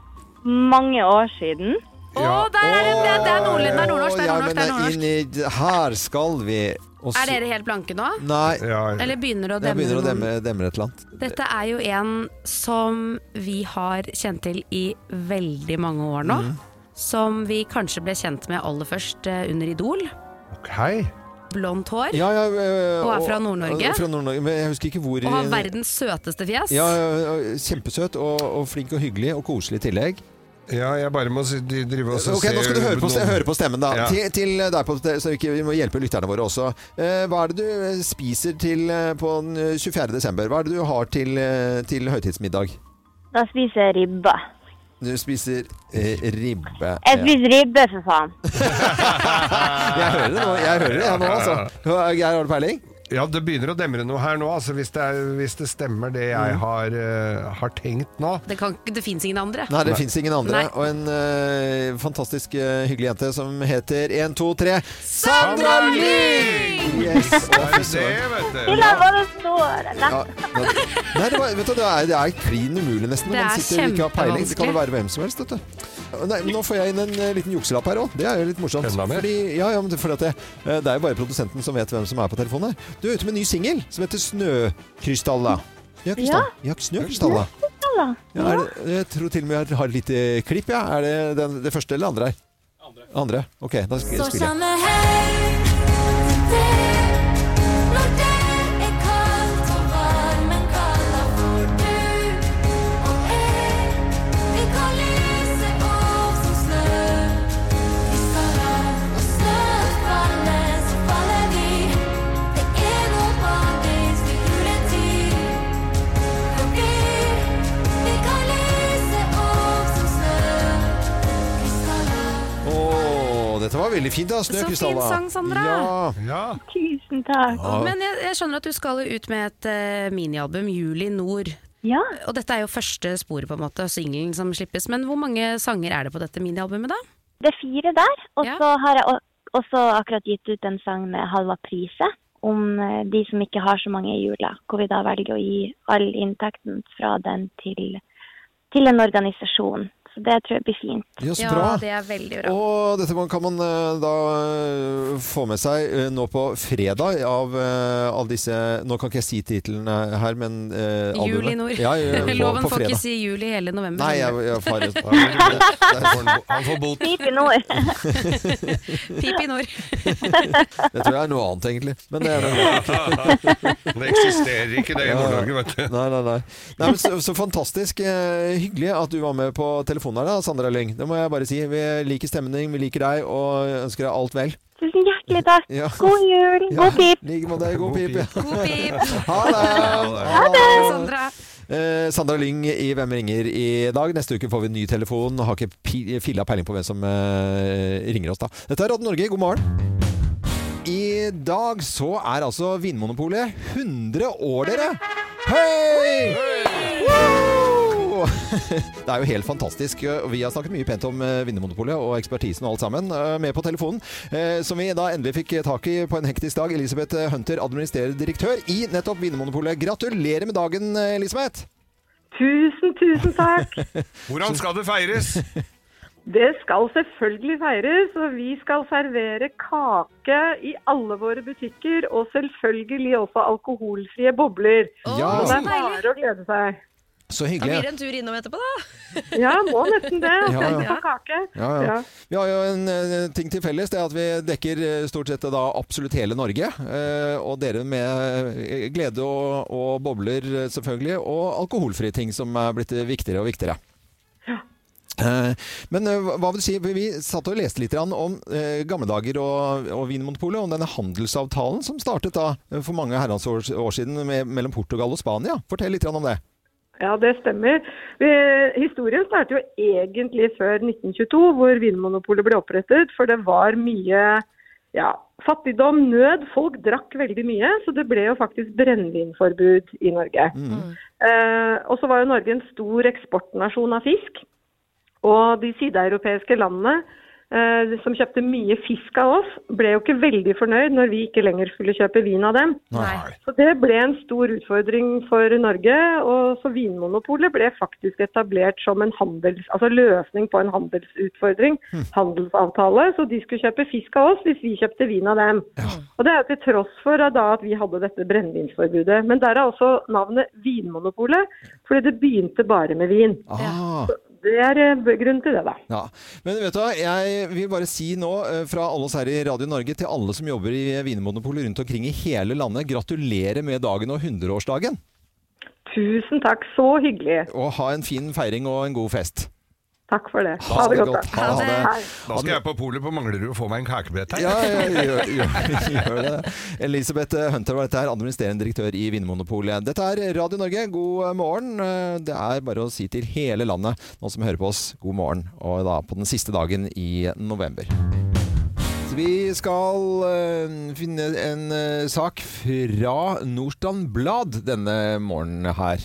Mange år siden.
Å, der er det! Det er nordnorsk, det er nordnorsk. Det er
Ja,
nordnorsk,
men
det
eh,
er, nordnorsk.
inn i- Her skal vi også,
er dere helt blanke nå?
Nei,
Ja.
Eller begynner det å
Mm. jeg
demme?
begynner å
noen?
demme, demre et eller annet.
Dette er jo en som vi har kjent til i veldig mange år nå.
Mm.
Som vi kanskje ble kjent med aller først eh, under Idol.
Ok.
Blondt hår.
Ja, ja, øh,
Og er fra Nord-Norge?
og- Fra Nord-Norge, men jeg husker ikke hvor.
Og har
i-
verdens søteste fjes.
ja, ja, ja, kjempesøt og, og flink og hyggelig og koselig i tillegg.
Ja, jeg bare må si- de- drive og så
Ok, Nå skal du høre på, ste-
noen-
høre på stemmen, da.
Ja.
Til, til deg, på, te- så vi ikke- vi må hjelpe lytterne våre også. Eh, hva er det du spiser til eh, på den eh, 24. desember? Hva er det du har til, eh, til høytidsmiddag?
Da spiser jeg ribbe.
Du spiser eh, ribbe.
Jeg
Ja.
spiser ribbe, for faen.
Jeg hører det nå, jeg hører det jeg nå altså. Geir, har du peiling?
Ja, det begynner å demre noe her nå, altså, hvis, det er, hvis det stemmer det
Mm.
jeg har, eh, har tenkt nå.
Det, kan ikke- det fins ingen andre.
Nei, det fins ingen andre.
Nei.
Og en eh, fantastisk eh, hyggelig jente som heter 1, 2, 3 Sandra Lyng! Yes, å,
Er
fy
det
søren.
det, vet du?
Til jeg bare står Nei.
Ja, ja. Nei, det, var, vet du, det er, det er klin umulig nesten når
Det
man
er
sitter og ikke har peiling. Det kan jo
kjempevanskelig.
være hvem som helst, vet du. Nei, men nå får jeg inn en eh, liten jukselapp her òg. Det er jo litt morsomt.
Enda mer.
Fordi, ja, ja, men det- fordi at det, eh, det er jo bare produsenten som vet hvem som er på telefonen her. Du er ute med en ny singel som heter Snøkrystalla. Ja, krystall. ja. Snøkrystalla.
Snøkrystalla.
Ja, er det, jeg tror til og med jeg har et lite klipp. Ja. Er det den, det første eller andre her? Andre. Ok, da skal jeg
Står
sånn.
spille.
samme hei til deg når det er kaldt og varmen kaller for du og jeg. Vi kan lyse opp som snø. Vi skal la oss snøen falle, så faller vi. Det er noe magisk i juletid. For vi, vi kan lyse opp som snø. Vi skal la
Å, dette var veldig fint, da. Snøkrystalla.
Så fin sang, Sandra.
Ja.
Ja.
Tusen takk.
Men jeg, jeg skjønner at du skal ut med et eh, minialbum, 'Juli Nord'.
Ja.
Og dette er jo første sporet, på en måte, singelen som slippes. Men hvor mange sanger er det på dette minialbumet, da?
Det er fire der. Og
Ja.
så har jeg o- også akkurat gitt ut en sang med halva priset. Om eh, de som ikke har så mange i jula. Hvor vi da velger å gi all inntekten fra den til, til en organisasjon. Så det tror jeg blir fint.
ja, så bra.
det er veldig bra.
Og dette kan man eh, da eh, få med seg eh, nå på fredag av eh, alle disse Nå kan ikke jeg si titlene her, men eh, albumet.
Juli Nord.
Ja, ja, på-
Loven
på
får ikke
fredag.
si juli hele november.
Nei, jeg, jeg farer.
Han får bot.
Fint i nord.
Pip i nord.
Jeg tror det er noe annet, egentlig. Men det er noe annet.
Det eksisterer ikke det i Nord-Norge, vet du.
Nei, nei, nei. nei men så, så fantastisk eh, hyggelig at du var med på telefonen her, da, Sandra Lyng. Det må jeg bare si. Vi liker stemning, vi liker deg og ønsker deg alt vel.
Tusen hjertelig takk.
Ja.
God jul.
Ja,
God pip.
Like med deg. God
God
pip. ja.
God pip,
Ha det! Ha det.
Sandra.
Eh, Sandra Lyng i Hvem ringer i dag. Neste uke får vi en ny telefon. Har ikke pi- filla peiling på hvem som eh, ringer oss, da. Dette er Radden Norge, god morgen. I dag så er altså Vinmonopolet 100 år, dere! Hei! Woo! Det er jo helt fantastisk. og Vi har snakket mye pent om eh, Vinmonopolet og ekspertisen og alt sammen. eh, Med på telefonen, eh, som vi da endelig fikk tak i på en hektisk dag. Elisabeth eh, Hunter, administrerende direktør i nettopp Vinmonopolet. Gratulerer med dagen, eh, Elisabeth!
Tusen, tusen takk.
Hvordan skal det feires?
Det skal selvfølgelig feires, og vi skal servere kake i alle våre butikker. Og selvfølgelig også alkoholfrie bobler.
Ja. altså,
Så
Så det er
deilig.
bare å glede seg.
Så
Da blir
hyggelig.
det en tur innom etterpå, da.
Ja, må nesten det.
Ja, ja.
Tenk på kake.
Ja, ja. Vi har jo en eh, ting til felles, det er at vi dekker eh, stort sett da absolutt hele Norge. eh, Og dere med eh, glede og, og bobler, eh, selvfølgelig, og alkoholfrie ting som er blitt eh, viktigere og viktigere. Eh, Men eh, hva vil du si, vi satt og leste litt grann om eh, gamle dager og, og Vinmonopolet, om denne handelsavtalen som startet da eh, for mange herrens år, år siden med, mellom Portugal og Spania. Fortell litt grann om det.
Ja, det stemmer. Vi- Historien starter jo egentlig før 1922, hvor Vinmonopolet ble opprettet. For det var mye ja, fattigdom, nød. Folk drakk veldig mye. Så det ble jo faktisk brennevinforbud i Norge. Eh, og så var jo Norge en stor eksportnasjon av fisk. Og de sydeuropeiske landene eh, som kjøpte mye fisk av oss, ble jo ikke veldig fornøyd når vi ikke lenger skulle kjøpe vin av dem. Så det ble en stor utfordring for Norge, og så Vinmonopolet ble faktisk etablert som en handels, altså løsning på en handelsutfordring, handelsavtale. Så de skulle kjøpe fisk av oss hvis vi kjøpte vin av dem. Og det er jo til tross for at da at vi hadde dette brennevinsforbudet. Men der er også navnet Vinmonopolet, fordi det begynte bare med vin.
Ah.
Det er eh, grunnen til det, da.
Ja, Men vet du hva, jeg vil bare si nå eh, fra alle oss her i Radio Norge til alle som jobber i Vinmonopolet rundt omkring i hele landet, gratulerer med dagen og 100-årsdagen.
Tusen takk, så hyggelig.
Og ha en fin feiring og en god fest.
Takk for det.
Ha det godt.
da.
Ha det.
Hei.
Da skal jeg på polet på Manglerud og få meg en kakebit her.
Ja, ja, gjør, gjør, gjør det. Elisabeth Hunter var dette her, administrerende direktør i Vinmonopolet. Dette er Radio Norge, god morgen. Eh, Det er bare å si til hele landet, nå som hører på oss, god morgen. Og da på den siste dagen i november. Vi skal eh, finne en eh, sak fra Nordstrand Blad denne morgenen her.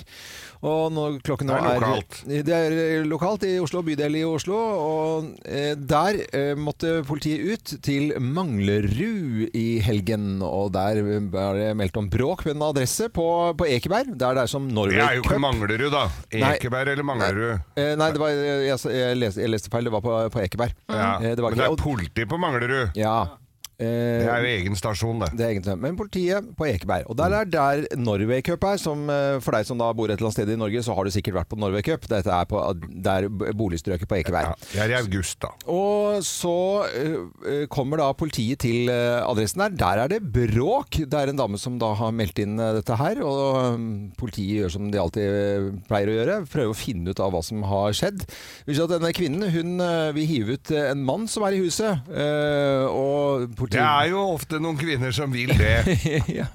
Og nå, klokken nå
Det er lokalt.
Det er eh, lokalt i Oslo, bydel i Oslo. Og eh, der eh, måtte politiet ut til Manglerud i helgen. Og der eh, var det meldt om bråk ved en adresse på, på Ekeberg. Det er der som Norway
Det er jo
Cup-
ikke Manglerud, da.
Nei.
Ekeberg eller Manglerud?
Eh, Nei, det var, jeg, jeg, leste, jeg leste feil. Det var på, på Ekeberg.
Ja.
Eh, det var
Men
ikke-
det er
og-
politi på Manglerud.
Ja.
Det
Eh,
er jo egen stasjon, det.
Det er egentlig, men politiet på Ekeberg. Og der er der Norway Cup er. Som eh, for deg som da bor et eller annet sted i Norge, så har du sikkert vært på Norway Cup. Dette er på det er boligstrøket på Ekeberg.
Ja. Det er i august, da.
Og så eh, kommer da politiet til eh, adressen der. Der er det bråk. Det er en dame som da har meldt inn eh, dette her. Og eh, politiet gjør som de alltid eh, pleier å gjøre, prøver å finne ut av hva som har skjedd. Vi ser at denne kvinnen hun eh, vil hive ut eh, en mann som er i huset. eh, og
Det
politiet
er jo ofte noen kvinner som vil det.
ja.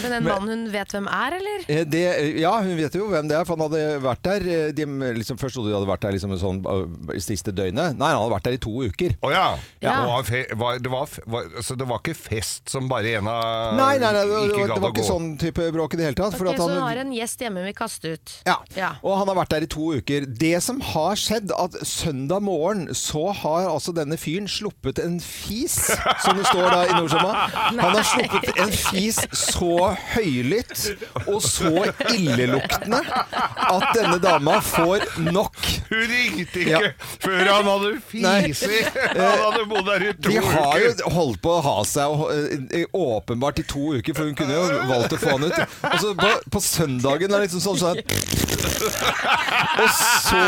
Men den mannen hun vet hvem er, eller?
Eh, Det, ja, hun vet jo hvem det er, for han hadde vært der eh, de, liksom, Først trodde de hadde vært der liksom, sånn, eh, siste døgnet. Nei, han hadde vært der i to uker.
Å ja!
Ja.
Og var fe var, det var, f- var, så det var ikke fest som bare en av
Nei, nei, nei
ikke
det, det,
gadd
var
å
ikke
gå.
sånn type bråk i det hele tatt. for
Ok,
at
så
han-
hun har en gjest hjemme vi kaster ut.
Ja.
Ja.
og han har vært der i to uker. Det som har skjedd, at søndag morgen så har altså denne fyren sluppet en fis, som det står da i Nordsjøma. Han har sluppet en fis så høylytt og så illeluktende at denne dama får nok.
Hun ringte ikke
Ja.
før han hadde
Nei.
fisi! Han hadde bodd der i to
De har
uker!
jo holdt på å ha seg og, eh, åpenbart i to uker, for hun kunne jo valgt å få han ut. Og så på, på søndagen er det liksom sånn sånn Og så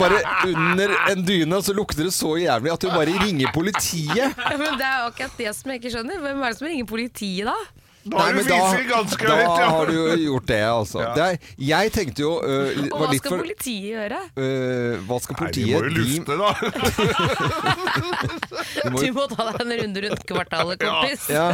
bare under en dyne, og så lukter det så jævlig at hun bare ringer politiet.
Men det er jo akkurat det som jeg ikke skjønner. Hvem er det som ringer politiet da?
Da har
Nei,
du
men
fisi ganske
da
høyt, ja!
har du jo gjort det, altså. Det er, jeg tenkte jo øh, li-
Og
var
hva
litt
skal
for,
politiet gjøre?
øh, Hva skal
Nei, de må
politiet
jo lufte, da!
de må
Du
jo-
må ta deg en runde rundt kvartalet, kompis.
ja,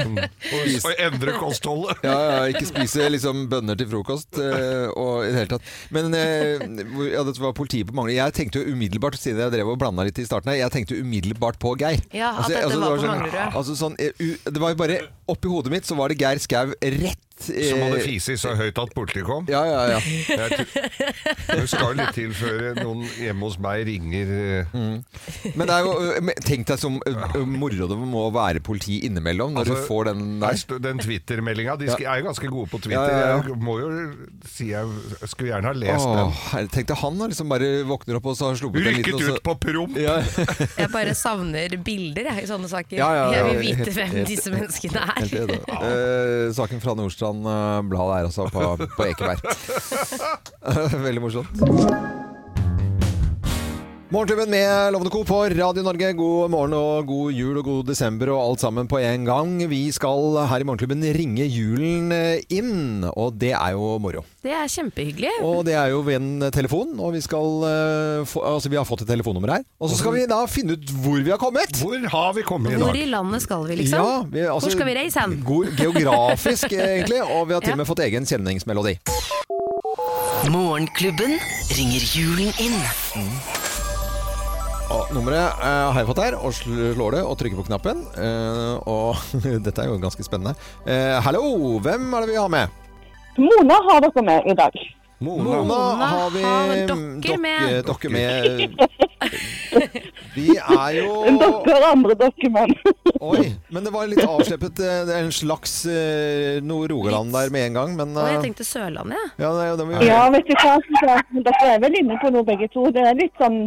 Og endre kostholdet.
Ja, ja, ikke spise liksom bønner til frokost eh, og i det hele tatt. Men eh, hvor- ja, det var politiet på Manglerud. Jeg tenkte jo umiddelbart, siden jeg drev og blanda litt i starten her, jeg tenkte umiddelbart på Geir.
Ja, at
jeg-
dette var
det
på
sånn,
Manglerud.
altså, sånn, eh, u, Det var jo bare Oppi hodet mitt så var det Geir Skau rett eh,
Som hadde fisi så høyt at politiet kom?
Ja, ja, ja.
Jeg tror- Det skal litt til før noen hjemme hos meg ringer
Mm,
eh,
Men det er jo, ø, men tenk deg som eh, ø, ø, moro det må være politi innimellom når
Altså,
du får den
Nei,
der.
st- Den Twitter-meldinga. De sk- er jo ganske gode på Twitter.
Ja, ja, ja.
Jeg må jo si jeg skulle gjerne ha lest
Åh,
den.
herre, tenk deg han da, liksom bare våkner opp og så har sluppet en liten
Rykket
og så-
ut på promp!
Ja,
Jeg bare savner bilder jeg, i sånne saker.
Ja, ja, ja,
jeg vil vite
helt-
hvem
helt-
disse menneskene
helt
er.
enig. Eh, saken fra Nordstrand-bladet er altså på, på Ekeberg. Veldig morsomt. Morgenklubben med Lovende Co. på Radio Norge. God morgen og god jul og god desember og alt sammen på en gang. Vi skal her i Morgenklubben ringe julen eh, inn, og det er jo moro.
Det er kjempehyggelig.
Og det er jo ved en telefon, og vi, skal, eh, få, altså, vi har fått et telefonnummer her. Og så skal vi da finne ut hvor vi har kommet.
Hvor har vi kommet i
Hvor i
dag?
landet skal vi, liksom?
Ja, vi- altså,
Hvor skal vi reise hen?
god- Geografisk, egentlig. Og vi har til og med fått egen kjenningsmelodi.
Morgenklubben ringer julen inn.
Mm. Og nummeret eh, har jeg fått her, og sl- slår det og trykker på knappen. Eh, og dette er jo ganske spennende. Eh, Hallo, hvem er det vi har med?
Mona har dere med i dag.
Mona har vi
har dere med.
Dere, dere med. Vi er jo
Dere andre dere, men
Oi, men det var litt avsleppet eh, det er en slags eh, noe Rogaland der med en gang, men
Og jeg
eh,
tenkte Sørlandet, jeg.
ja, det, det må vi
Ja,
gjøre.
vet du hva. så Dere er vel inne på noe begge to. Det er litt sånn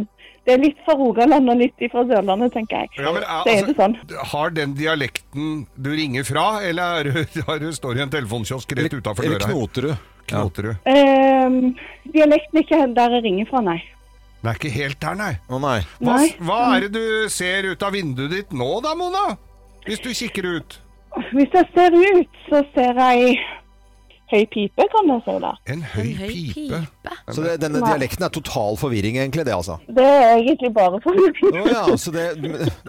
det er litt fra Rogaland og litt fra Sørlandet, tenker jeg.
Ja, men, eh,
det er det sånn.
altså, har den dialekten du ringer fra, eller er, du- har du står i en telefonkiosk rett
Eller,
utafor
eller
døra? her?
Knoterud.
Knoterud.
Ehm, dialekten er ikke der jeg ringer fra, nei.
Den er ikke helt der, nei.
Å nei.
Hva,
Nei.
hva er det du ser ut av vinduet ditt nå da, Mona? Hvis du kikker ut.
Hvis jeg ser ut, så ser jeg høy pipe, kan jeg si da.
En høy pipe.
Så det, denne dialekten er total forvirring, egentlig, det altså.
Det er egentlig bare for
Å ja, så det,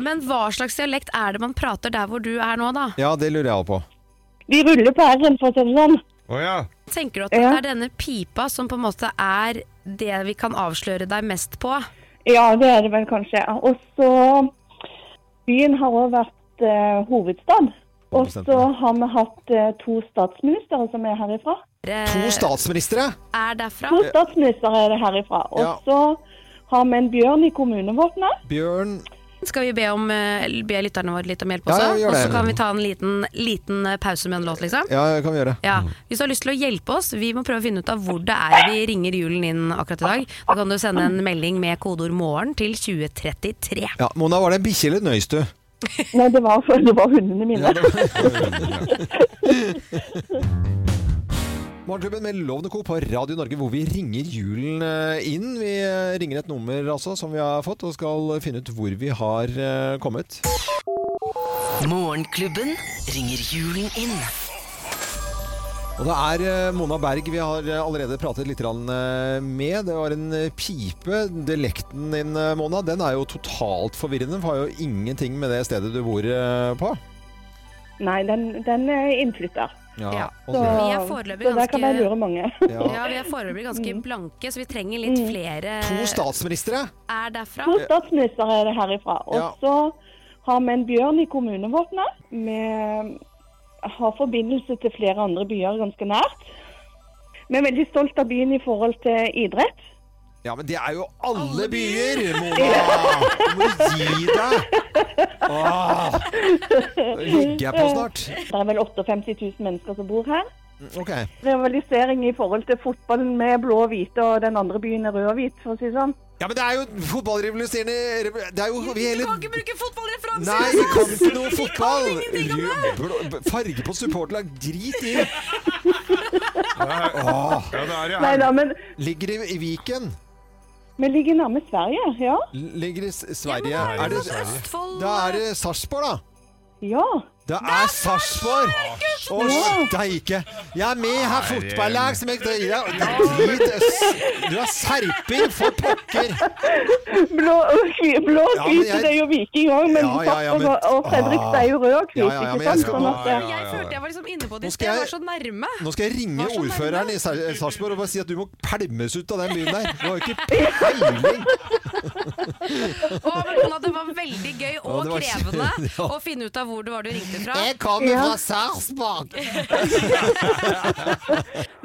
Men hva slags dialekt er det man prater der hvor du er nå, da?
ja, det lurer jeg på.
Vi ruller på r-en, for å si det sånn.
Å ja.
Tenker du at det
Ja.
er denne pipa som på en måte er det vi kan avsløre deg mest på?
Ja, det er det vel kanskje. Og så Byen har òg vært eh, hovedstad. Og så har vi hatt eh, to statsministre som er herifra.
Eh.
To statsministre!
Er derfra?
To statsministre er det herifra.
Ja.
Og så har vi en bjørn i kommunevåpenet.
Bjørn
Skal vi be, om, eh, be lytterne våre litt om hjelp
Ja,
også?
ja, gjør
og
det.
så kan vi ta en liten, liten eh, pause med en låt, liksom?
Ja, det kan vi gjøre.
Ja. Hvis du har lyst til å hjelpe oss, vi må prøve å finne ut av hvor det er vi ringer julen inn akkurat i dag. Da kan du sende en melding med kodeord 'morgen' til 2033.
Ja, Mona, var det en bikkje eller et nøys, du?
Nei, det var, det var hundene mine.
Morgenklubben med Lovende Co. på Radio Norge, hvor vi ringer julen eh, inn. Vi eh, ringer et nummer altså, som vi har fått, og skal finne ut hvor vi har eh, kommet.
Morgenklubben ringer julen inn.
Og det er eh, Mona Berg vi har eh, allerede pratet litt grann, eh, med. Det var en eh, pipe. Dialekten din, eh, Mona, den er jo totalt forvirrende. Den har jo ingenting med det stedet du bor eh, på.
Nei, den, den er innflytta.
Ja.
og
Så,
det-
Vi er foreløpig
så der kan
ganske-
jeg lure Mm. mange.
ja.
Ja, vi er foreløpig ganske blanke, så vi trenger litt
Mm.
flere
To statsministre.
er derfra.
To statsministre er det herifra. Og
Ja.
så har vi en bjørn i kommunevåpenet. Vi har forbindelse til flere andre byer ganske nært. Vi er veldig stolt av byen i forhold til idrett.
Ja, men det er jo alle byer, Mona! Du må gi deg! Åh, ligger jeg på snart.
Det er vel 58 000 mennesker som bor her.
Ok.
Rivalisering i forhold til fotballen med blå og hvite, og den andre byen er rød og hvit, for å si det sånn.
Ja, men det er jo fotballrevolutionerende Det er jo vi hele
bruke fotballreferanser!
Nei, vi kan ikke noe fotball! Rød, blå- Farge på supporterlag, drit i!
Ja,
Åh,
det er det
Nei
her.
da, men
ligger i, i Viken.
vi ligger nærme Sverige, ja.
Ligger i S- Sverige.
Ja,
Er
men
det,
det er
Østfold
da er det Sarpsborg, da.
Ja.
Det er Sarpsborg! Å, steike! Jeg er med her, fotballag som jeg ja, drit øss. Du er serping, for pokker!
Blå og hvi- blå og
Ja, men
hvite,
jeg-
det er jo viking òg, men
Ja, ja, ja,
Sarpsborg
men- Ah.
og Fredrikstad er jo rød og hvit,
Ja, ja, ja, men
ikke
jeg
sant?
skal-
Sånn at det...
Ja, ja,
Jeg
ja.
følte jeg var liksom inne på det
Nå
i
skal
sted, jeg
jeg-
var så nærme.
Nå skal jeg ringe
Hva er så
ordføreren
nærme?
i Sar- Sarpsborg og bare si at du må pælme ut av den byen der. Du har jo ikke peiling!
Å, men Mona, det var veldig gøy og
det var-
krevende å finne ut av hvor det var du ringte
du fra?
Jeg kommer Ja. fra Sarpsborg.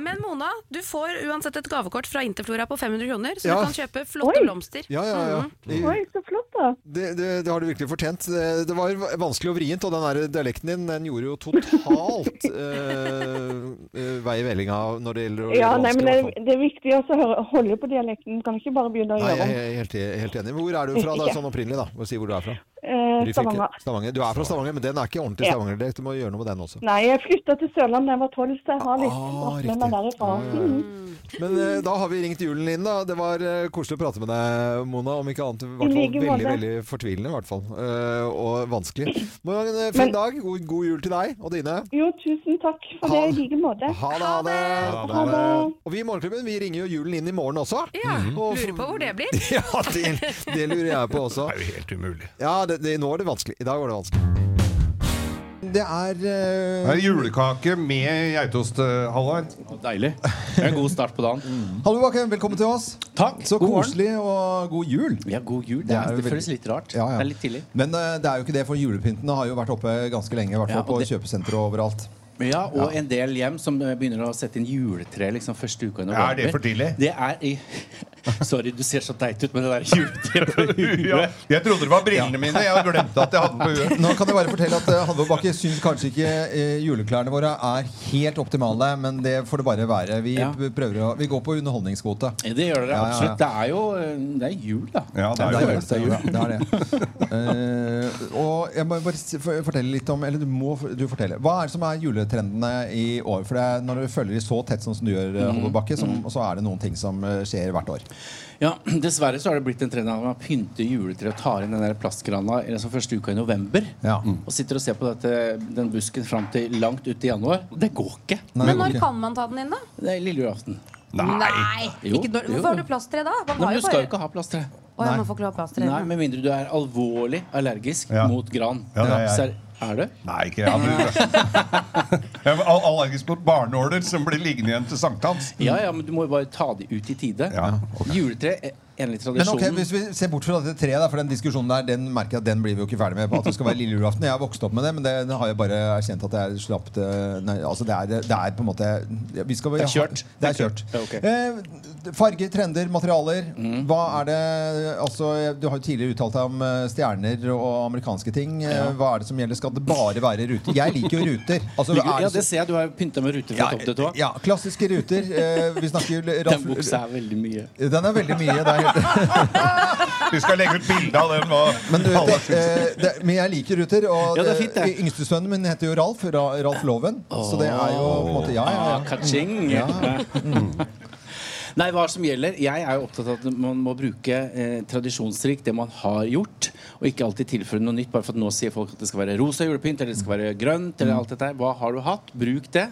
Men Mona, du får uansett et gavekort fra Interflora på 500 kroner, så
Ja.
du kan kjøpe flotte blomster.
Ja, ja, ja. I-
Oi, så flott, da.
Det, det, det har du virkelig fortjent. Det, det var vanskelig og vrient, og den der dialekten din den gjorde jo totalt eh, eh, vei i vellinga når det gjelder å
Ja,
gjøre
nei,
vanskelig. i
men det,
hvert fall.
det er viktig også å høre- holde på dialekten. Kan ikke bare begynne å
Nei,
gjøre
jeg
om.
er helt, helt enig. Hvor er du fra da,
Ikke.
sånn opprinnelig? da? Må si hvor du er fra.
Eh,
Ryfylke.
Stavanger.
Stavanger. Du er fra Stavanger, men den er ikke ordentlig
Ja.
Stavanger-dialekt. Du må gjøre noe med den også.
Nei, jeg flytta til Sørlandet da jeg var tolv, så jeg har
Ah,
litt dratt med meg derifra. Mhm.
Men eh, da har vi ringt julen inn, da. Det var eh, koselig å prate med deg, Mona. Om ikke annet, i hvert fall
like
veldig,
måte.
veldig fortvilende, i hvert fall. Eh, og vanskelig. Må ha en eh, fin
Men-
dag. God, god jul til deg og dine.
Jo, tusen takk for det i like måte.
Ha det, ha det!
Ha det.
Og vi i Morgenklubben vi ringer jo julen inn i morgen også.
Ja,
Og-
Lurer på hvor det blir.
ja, det, det lurer jeg på også. Det er jo helt umulig. Ja, det, det, nå er det vanskelig. I dag var det vanskelig. Det er eh,
Det er julekake med geitost, eh, Halvard. Deilig. Det er en god start på dagen.
Hallo Bakken, velkommen til oss.
Takk,
Så
god morgen.
koselig og god jul.
Ja, god jul. Det,
Det er
er,
jo
det
veldig-
føles litt rart.
Ja, ja.
Det er litt tidlig.
Men eh, det er jo ikke det, for julepyntene har jo vært oppe ganske lenge. I hvert
Ja, og
fall på
det-
kjøpesentre og overalt.
Ja, og
Ja.
en del hjem som eh, begynner å sette inn juletre liksom første uka i november.
Er det for tidlig?
Det er i... Sorry, du ser så teit ut med det der juletreet på huet.
Ja, jeg trodde det var
Ja.
brillene mine. Jeg hadde glemt at jeg hadde den på huet.
Nå kan jeg bare fortelle at eh, Halvor Bakke syns kanskje ikke eh, juleklærne våre er helt optimale, men det får det bare være. Vi,
Ja.
p- prøver å, vi går på underholdningskvote.
Det gjør dere
Ja, ja, ja.
absolutt. Det er jo eh, det er jul, da.
det er det. det, er det. Eh, og jeg må bare s- for- fortelle litt om Eller du må f- du fortelle. Hva er det som er juletrendene i år? For det er, Når du følger de så tett sånn som du gjør, eh, Halvor Bakke, som, så er det noen ting som eh, skjer hvert år.
Ja, Dessverre så har det blitt en trend at man pynter juletreet og tar inn den der plastgrana i den som første uka i november. Og sitter og ser på dette, den busken fram til langt ut i januar. Det går ikke.
Men når kan man ta den inn, da?
Det er lille julaften.
Nei.
Jo,
ikke når,
jo.
hvorfor har du plasttre da? Man
Nei,
har
men
jo
du skal
bare
jo ikke ha plasttre.
Å ja, man får ikke ha plasttre.
Nei, Med mindre du er alvorlig allergisk
Ja.
mot gran.
Ja, det er jeg.
Så er, er du?
Nei, ikke jeg. Jeg var all- allergisk mot barneåler som blir liggende igjen til sankthans.
Ja, ja, men du må jo bare ta de ut i tide. Juletre er enlig
Men
tradisjon.
ok, Hvis vi ser bort fra dette treet, da, for den diskusjonen der, den merker jeg at den blir vi jo ikke ferdig med. At det skal være lille julaften. Jeg har vokst opp med det, men det, det har jeg bare erkjent at jeg slapp det Nei, altså det er, det er på en måte ja, vi skal,
Det er kjørt.
Det er kjørt.
Ja, ok. Mm.
Eh, farger, trender, materialer. Hva er det Altså, Du har jo tidligere uttalt deg om eh, stjerner og amerikanske ting. Eh,
Ja.
Hva er det som gjelder? Skal det bare være ruter? Jeg liker jo ruter. Altså,
Ligger-
er
ja,
så-
det ser jeg. Du har pynta med ruter fra topp til tå.
ja, klassiske ruter. Eh, vi snakker jo
Den buksa er veldig mye.
Den er veldig mye. Det er helt
Vi skal legge ut bilde av den. hva-
Men, du,
Alle
det, eh,
synes.
det, men jeg liker ruter. Og
Ja, det er fint, det.
eh, yngstesønnen min heter jo Ralf. Ra, Ralf Loven. Så det er jo på en måte Ja, ja.
Ah, ka-ching.
ja.
Nei, hva som gjelder Jeg er jo opptatt av at man må bruke eh, tradisjonsrikt det man har gjort, og ikke alltid tilføre noe nytt. Bare for at nå sier folk at det skal være rosa julepynt, eller det skal være grønt, eller alt dette her. Hva har du hatt? Bruk det.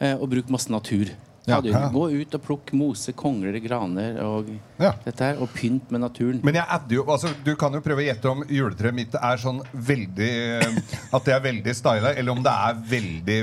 Eh, og bruk masse natur.
Ja.
Ta det ut.
Ja.
Gå ut og plukk mose, kongler, graner og dette her. Og pynt med naturen.
Men jeg adder jo, altså, du kan jo prøve å gjette om juletreet mitt er sånn veldig eh, At det er veldig styla, eller om det er veldig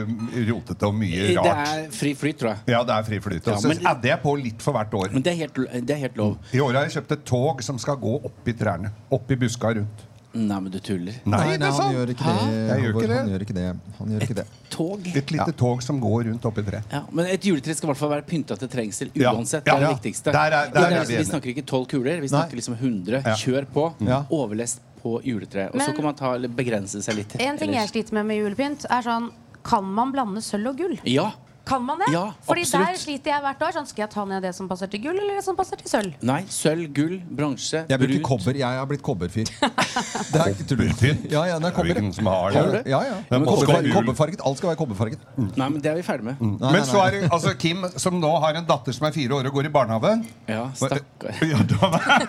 rotete og mye
Det
rart.
er fri flyt, tror jeg.
Ja, det er fri flyt.
Ja,
Og så
men-
adder jeg på litt for hvert år.
Men det er helt, lov.
I år har jeg kjøpt et tog som skal gå opp i trærne. Opp i buska rundt.
Nei, men du tuller.
Nei,
Nei,
det
nei,
er
han
sant.
gjør ikke det.
Hæ? Jeg gjør
Halvor.
ikke det.
Han gjør ikke det. Han gjør ikke det.
Tog?
Et lite tog som går rundt oppi treet.
Ja, men et juletre skal i hvert fall være pynta til trengsel
Ja.
uansett.
Ja,
Det er
ja.
det viktigste.
Der er- der
Det
er vi
liksom,
enige.
vi snakker ikke tolv kuler, vi snakker liksom 100.
Ja.
Kjør på.
Ja.
Overlest på juletreet. Og
Men-
så kan man ta, eller begrense seg litt.
En ting jeg
ellers.
sliter med med julepynt, er sånn Kan man blande sølv og gull?
Ja.
Kan man det?
Ja,
Fordi
absolutt.
der sliter jeg hvert år. Sånn, skal jeg ta ned det som passer til gull, eller det som passer til sølv?
Nei. Sølv, gull, bronse,
Jeg bruker kobber. Jeg har blitt kobberfyr. Det er ikke tull. Ja, ja, det er kobber.
Hvilken som har det?
Ja, ja, ja.
Det er
Kobberfar-
påskegull.
Kobberfarget. Alt skal være kobberfarget.
Nei, men det er vi ferdig med.
Nei, nei,
Men så
nei.
er det altså Kim, som nå har en datter som er fire år og går i barnehagen.
Ja, stakkar.
Ja, da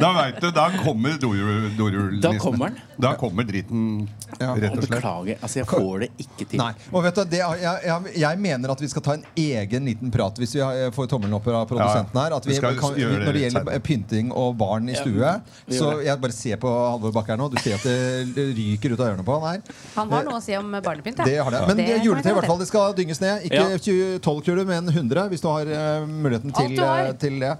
da veit du, da kommer doru- dorullnissen.
Da kommer den.
Da kommer driten, rett og slett.
Beklager. Altså, jeg får det ikke til.
Nei. Og vet du, det, er- jeg, jeg, jeg mener at at vi skal ta en egen liten prat hvis vi har- eh, får tommelen opp av produsenten
Ja,
her. At
vi
vi,
skal
kan,
gjøre det
når det
litt
gjelder
senere.
pynting og barn i
Ja,
stue
vi gjør
Så
det.
jeg bare ser på Halvor Bakke her nå. Du ser at det ryker ut av ørene på han her.
Han har noe å si om barnepynt. ja.
Det har det. Men
Det
det,
kan
juletre i
jeg
hvert fall, det skal dynges ned. Ikke
Ja.
20 12 kuler, men 100 hvis du har eh, muligheten
Alt
til,
du har.
eh, til det.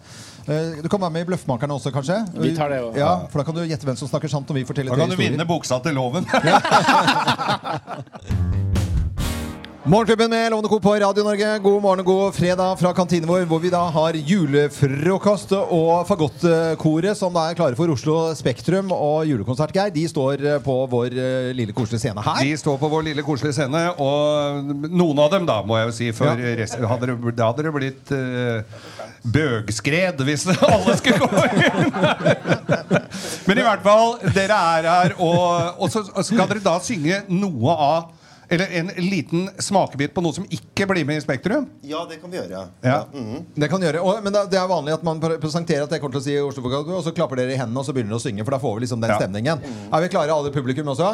Eh, du kan være med i Bløffmakerne også, kanskje.
Vi tar det også.
Ja, for Da kan du gjette hvem som snakker sant. når vi
Da
forteller tre
kan du
historier.
vinne buksa til loven.
Morgenklubben med Lovende Co. på Radio Norge. God morgen og god fredag fra kantinen vår, hvor vi da har julefrokost og fagottkoret som da er klare for Oslo Spektrum og julekonsert, Geir. De står eh, på vår eh, lille koselige scene her.
De står på vår lille koselige scene, og noen av dem, da, må jeg jo si. For resten, hadde det, da hadde det blitt eh, bøgskred hvis alle skulle gå inn. Men i hvert fall, dere er her, og, og så skal dere da synge noe av Eller en liten smakebit på noe som ikke blir med i Spektrum.
Ja, det kan vi gjøre.
Ja.
Det kan gjøre, og, men det, det er vanlig at man pre- presenterer at jeg kommer til å si Oslo Fagottkoret, og så klapper dere i hendene og så begynner dere å synge, for da får vi liksom den
Ja.
stemningen. Er vi klare, alle i publikum også?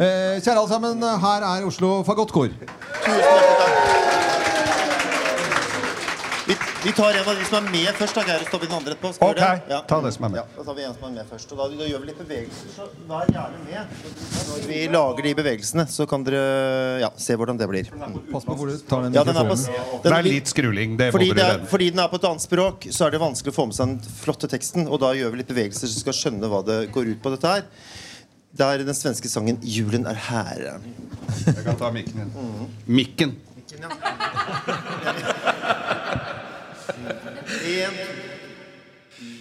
Eh, kjære alle sammen, her er Oslo Fagottkor.
Vi, vi tar en av de som er med først. da, Geir, og så tar vi den andre etterpå. Skal vi
Ok,
gjøre det?
ta det som er med.
Ja, da tar vi en som er med først. Og da, da gjør vi litt bevegelser, så vær gjerne med. Når vi lager de bevegelsene, så kan dere Eh, ja, se hvordan det blir.
Pass på hvor du tar den
Ja, den er på,
mikrofonen.
den-
Det er litt skruling. Det
fordi,
må
det
dere
er, fordi den er på et annet språk, så er det vanskelig å få med seg den flotte teksten. Og da gjør vi litt bevegelser så du skal skjønne hva det går ut på. dette her Det er den svenske sangen 'Julen er her'.
Jeg kan ta mikken din.
Mhm.
Mikken.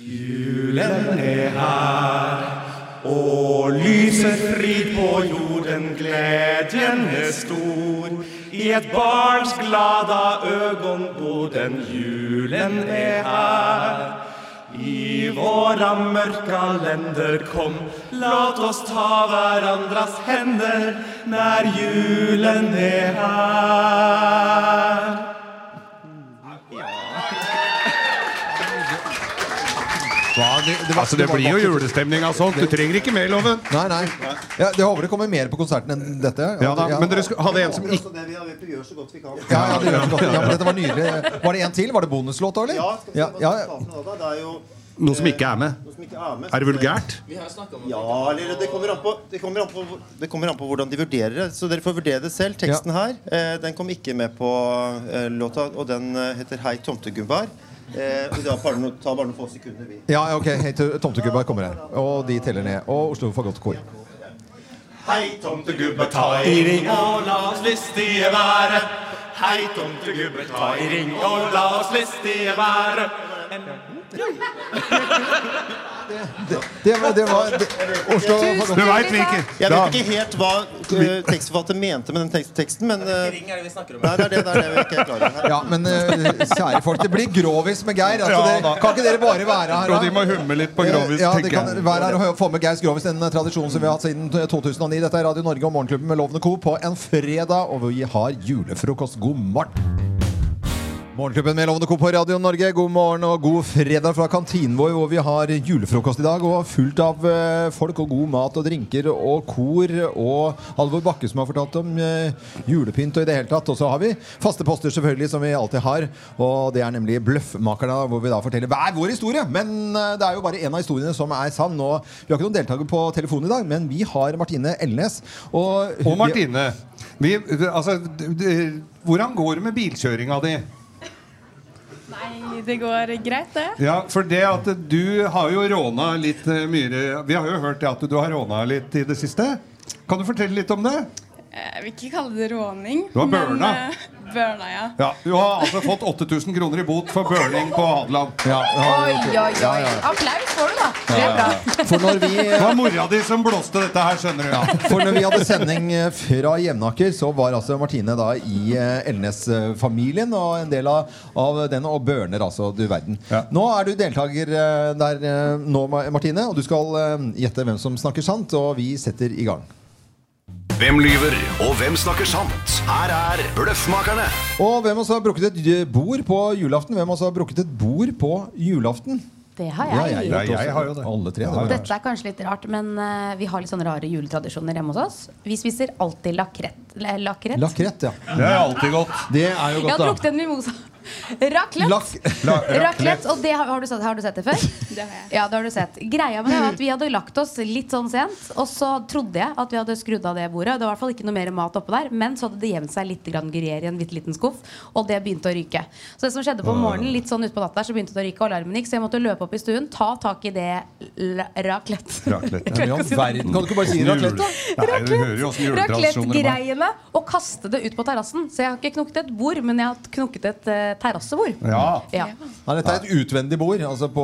Julen er her, og lyset frid på jorden, glädjen er stor. I et barns glada ögon går den, julen är här. I våra mörka länder, kom, låt oss ta varandras händer när julen är här.
det, altså, det blir jo julestemning av sånt. Du trenger ikke mer, Loven.
Nei, nei. Ja, jeg håper det kommer mer på konserten enn dette.
Ja da, men dere skulle- hadde en som
ikke Vi har vi gjør så godt vi kan.
Ja, ja, det hørtes godt ut. ja, men dette var nydelig. Var det en til? Var det bonuslåt òg, eller?
Ja, skal vi se hva resultatene er da. Det er jo
Noe som ikke er med.
noe som ikke er med.
Er det vulgært?
Vi har snakket om det. Ja, eller det kommer, an på, det, kommer an på, hvor- det kommer an på hvordan de vurderer det. Så dere får vurdere det selv. Teksten her eh, den kom ikke med på eh, låta, og den eh, heter 'Hei, tomtegubbar'. Eh, og det tar bare noen- tar bare noen få sekunder, vi.
Ja, ok. Hei, to- Tomtegubba kommer her. Og de teller ned. Og Oslo Fagottkor.
Hei, tomtegubber,
ta i ring og la oss listige være. Hei, tomtegubber, ta i ring og la oss listige være.
Det, det, var- det var det, Oslo Fagottkor.
Jeg vet ikke helt hva eh, tekstforfatter mente med den tekst- teksten, men eh, Nei, det er det, det er det vi ikke er klar over.
Ja, men eh, kjære folk, det blir grovis med Geir. Altså,
Ja,
dere,
da.
kan ikke dere bare være her?
Jo,
da?
de må humme litt på grovis,
Eh, Ja, de
tenker
kan
jeg.
være her og hø- få med Geirs grovis, en eh, tradisjon som vi har hatt siden eh, 2009. Dette er Radio Norge og Morgenklubben med Lovende Co. på en fredag, og vi har julefrokost. God morgen! Morgenklubben med Lovende Co. på Radio Norge, god morgen og god fredag fra kantinen vår, hvor vi har julefrokost i dag. Og fullt av eh, folk og god mat og drinker og kor og Halvor Bakke som har fortalt om eh, julepynt og i det hele tatt. Og så har vi faste poster selvfølgelig som vi alltid har, og det er nemlig Bløffmakerne, hvor vi da forteller hver vår historie. Men eh, det er jo bare én av historiene som er sann. Og vi har ikke noen deltaker på telefonen i dag, men vi har Martine Elnes. Og,
Og Martine, vi, altså, d- d- hvordan går det med bilkjøringa di?
Eh,
Nei, det går greit, det.
Ja, for det at du har jo råna litt eh, mye Vi har jo hørt det at du har råna litt i det siste. Kan du fortelle litt om det?
Jeg vil ikke kalle det råning.
Du har
men,
burna.
eh, burna, ja.
Ja, Du har altså fått 8000 kroner i bot for burning på Hadeland.
Oi, oi, oi. Applaus får du, da. Det er bra.
For når vi-
Det var mora di som blåste dette her, skjønner du.
For når vi hadde sending eh, fra Jevnaker, så var altså Martine da i eh, Elnes-familien og en del av, av den, og Børner, altså. Du verden. Nå er du deltaker eh, der eh, nå, Ma- Martine, og du skal eh, gjette hvem som snakker sant, og vi setter i gang.
Hvem lyver, og hvem snakker sant? Her er Bløffmakerne.
Og hvem av oss har brukket et eh, bord på julaften? Hvem av oss har brukket et bord på julaften?
det har jeg.
Ja, jeg har jo det.
Alle tre.
Og Dette er kanskje litt rart, men eh, vi har litt sånne rare juletradisjoner hjemme hos oss. Vi spiser alltid lakrett. la- Lakrett?
Lakrett, ja.
Det er alltid godt.
Det er
Jeg
jo
har
godt,
drukket
da.
en mimosa. Raclette. Raclette, og det har, har, du sett, har du sett det før? Det har jeg. Ja, det har du sett. Greia med det var at vi hadde lagt oss litt sånn sent, og så trodde jeg at vi hadde skrudd av det bordet. Det var i hvert fall ikke noe mer mat oppå der, men så hadde det gjemt seg litt grann gruyere i en bitte liten skuff, og det begynte å ryke. Så det som skjedde på morgenen, litt sånn utpå natta, der, så begynte det å ryke, og alarmen gikk, så jeg måtte løpe opp i stuen, ta tak i det l- raclette.
Raclette.
Ja, men i all verden, kan du ikke bare si
Hvordan jule-
raclette, da?
Nei, du hører jo åssen juletradisjoner er.
Raclette-greiene og kaste det ut på terrassen. Så jeg har ikke knukket et bord, men jeg har knukket et eh, terrassebord.
Mm.
Ja.
ja.
Nei, dette er et utvendig bord altså på,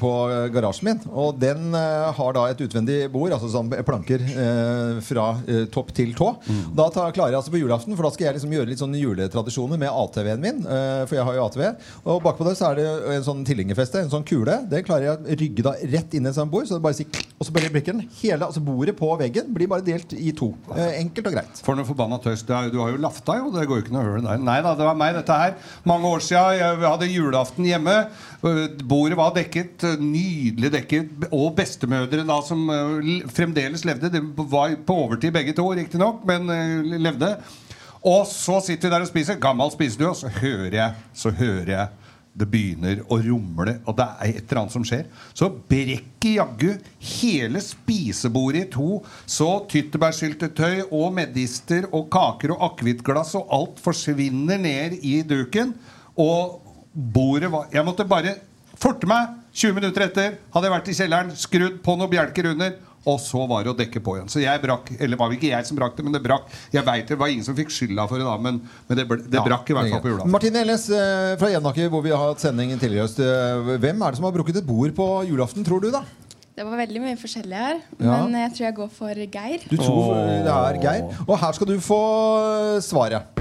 på garasjen min. Og den eh, har da et utvendig bord, altså sånn planker eh, fra eh, topp til tå. Da tar, klarer jeg altså på julaften, for da skal jeg liksom gjøre litt sånne juletradisjoner med ATV-en min. eh, for jeg har jo ATV. Og bakpå der så er det en sånn tilhengerfeste, en sånn kule. Det klarer jeg å rygge da rett inn i en sånn bord, så det bare sier klikk, og så bare blikker den. Hele, altså bordet på veggen blir bare delt i to. Eh, enkelt og greit.
For noe forbanna tøys. Det er jo- Du har jo lafta, jo. Det går jo ikke noe høl der. Nei da, det var meg, dette her. Mange år siden. Jeg hadde julaften hjemme. Øh, Bordet var dekket. øh, Nydelig dekket. Og bestemødre da som øh, l- fremdeles levde. De var på overtid begge to, riktignok, men øh, levde. Og så sitter vi der og spiser. Gammel spiser du, og så hører jeg, så hører jeg det begynner å rumle, og det er et eller annet som skjer. Så brekker jaggu hele spisebordet i to. Så tyttebærsyltetøy og medister og kaker og akevittglass og alt forsvinner ned i duken. Og bordet var Jeg måtte bare forte meg. 20 minutter etter hadde jeg vært i kjelleren, skrudd på noen bjelker under. Og så var det å dekke på igjen. Så jeg brakk, eller var det ikke jeg som brakk det, men det brakk. Jeg vet, det var ingen som fikk skylda for det da, men, men det, ble, det
Ja,
brakk i hvert fall på julaften.
Martine Elnes eh, fra Jevnaker, hvor vi har hatt sending tidligere i høst. eh, Hvem er det som har brukket et bord på julaften, tror du, da?
Det var veldig mye forskjellig her,
Ja.
eh,
men jeg tror jeg går for Geir.
Du tror det er Geir. Og her skal du få eh, svaret.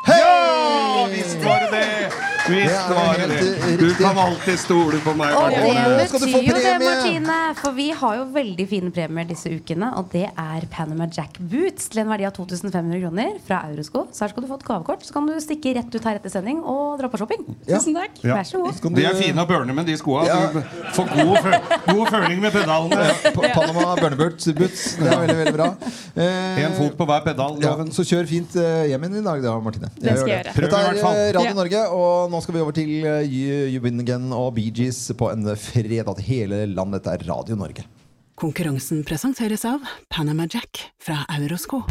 Ja! Visst var det det! Visst
Det er
var det
helt
det. Du kan alltid stole på meg.
Og
Martin.
det betyr jo det, Martine, for vi har jo veldig fine premier disse ukene. Og det er Panama Jack Boots til en verdi av 2500 kroner fra Eurosko. Så her skal du få et gavekort, så kan du stikke rett ut her etter sending og dra på shopping.
Ja.
Tusen takk.
Ja.
Vær så god.
De er fine å burne med, de skoa. Du Får god, fø god føling med pedalene.
Panama Burneburt Boots. Det er veldig, veldig bra. Eh,
En fot på hver pedal.
Ja, så kjør fint eh, hjem igjen i dag, da, Martine.
Det skal jeg gjøre. Prøv i
Dette
hvert
er
fall.
eh,
Ja.
Radio Norge, og nå skal vi over til eh, You You Win Again og Bee Gees på en fredag til hele landet. Dette er Radio Norge.
Konkurransen presenteres av Panama Jack fra Eurosko.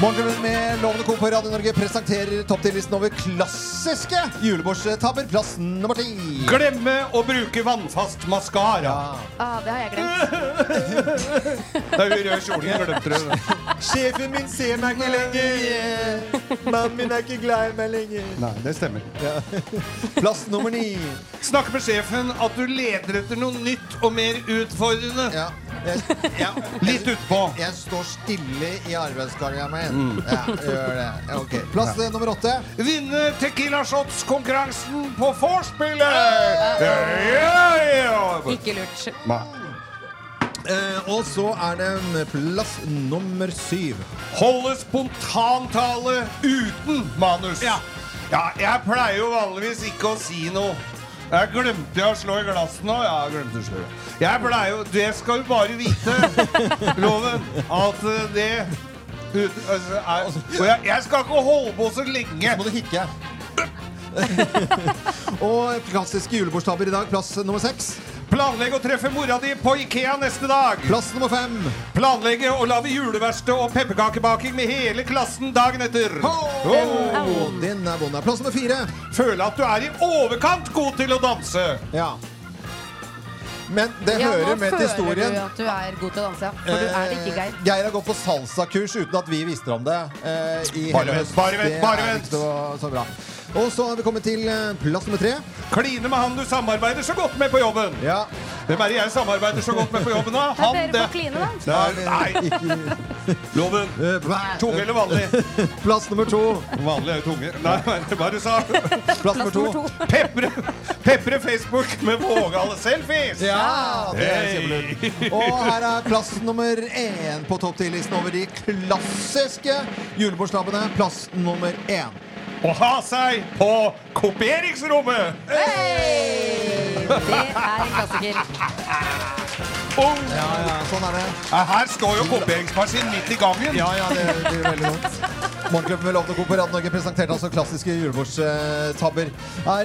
Morgenklubben med Lovende Co på Radio Norge presenterer topptillisten over klassiske julebordsetapper. Plass nummer ti.
Glemme å bruke vannfast maskara.
Ah, det har jeg glemt.
Da hun røde kjolen glemte det.
Sjefen min ser meg ikke lenger. Mannen min er ikke glad i meg lenger.
Nei, det stemmer.
Plass nummer ni.
Snakk med sjefen at du leder etter noe nytt og mer utfordrende. Litt utpå.
Jeg står stille i arbeidskarrieren
Mm.
min. Ja, gjør det. Ok. Plass eh, nummer åtte.
Vinne Tequila Shots-konkurransen på vorspielet! Ja, ja.
Ikke lurt.
Eh, og så er det plass nummer syv.
Holde spontantale uten manus. Ja. jeg pleier jo vanligvis ikke å si noe. Jeg glemte jeg å slå i glasset nå. Ja, jeg glemte å slå i glasset. Jeg pleier jo Det skal du bare vite, loven, at eh, det ut, altså, er, Og jeg, jeg skal ikke holde på så lenge. Så
må du hikke. Og klassiske julebordstabber i dag. Plass nummer seks.
Planlegg å treffe mora di på Ikea neste dag.
Plass nummer fem.
Planlegge å lage juleverksted og pepperkakebaking med hele klassen dagen etter. Oh.
Den er vond. Plass nummer fire.
Føle at du er i overkant god til å danse.
Ja. Men det
Ja,
hører
nå
med til
føler
historien.
du at du er god til å danse, ja. For du er det ikke, Geir.
Eh, Geir har gått på salsakurs uten at vi visste om det. eh, i
Bare
hele
vent,
høst.
bare vent,
Det
bare
er
vent.
ikke så- Så bra. Og så har vi kommet til eh, plass nummer tre.
Kline med han du samarbeider så godt med på jobben.
Ja.
Hvem er det jeg samarbeider så godt med på jobben, da?
Det er dere på
det-
Kline, da.
Det er- Nei! Loven. Tunge eller vanlig?
Eh, Plass nummer to.
Vanlig er jo tunge. Nei, hva var det du sa?
Plass nummer to.
Pepre, pepre Facebook med vågale selfies!
Ah.
Ja, det er
Hey.
Og her er plass nummer én på topp 10-listen over de klassiske julebordslabbene. Plass nummer én.
Å ha seg på kopieringsrommet!
Det er en klassiker.
Ja, ja, sånn er det.
Ja, Her står jo kopieringsmaskinen midt i gangen.
Ja, ja, det blir veldig dumt. Morgenklubben med Lovende Co. på Radio Norge presenterte altså klassiske julebordstabber. Det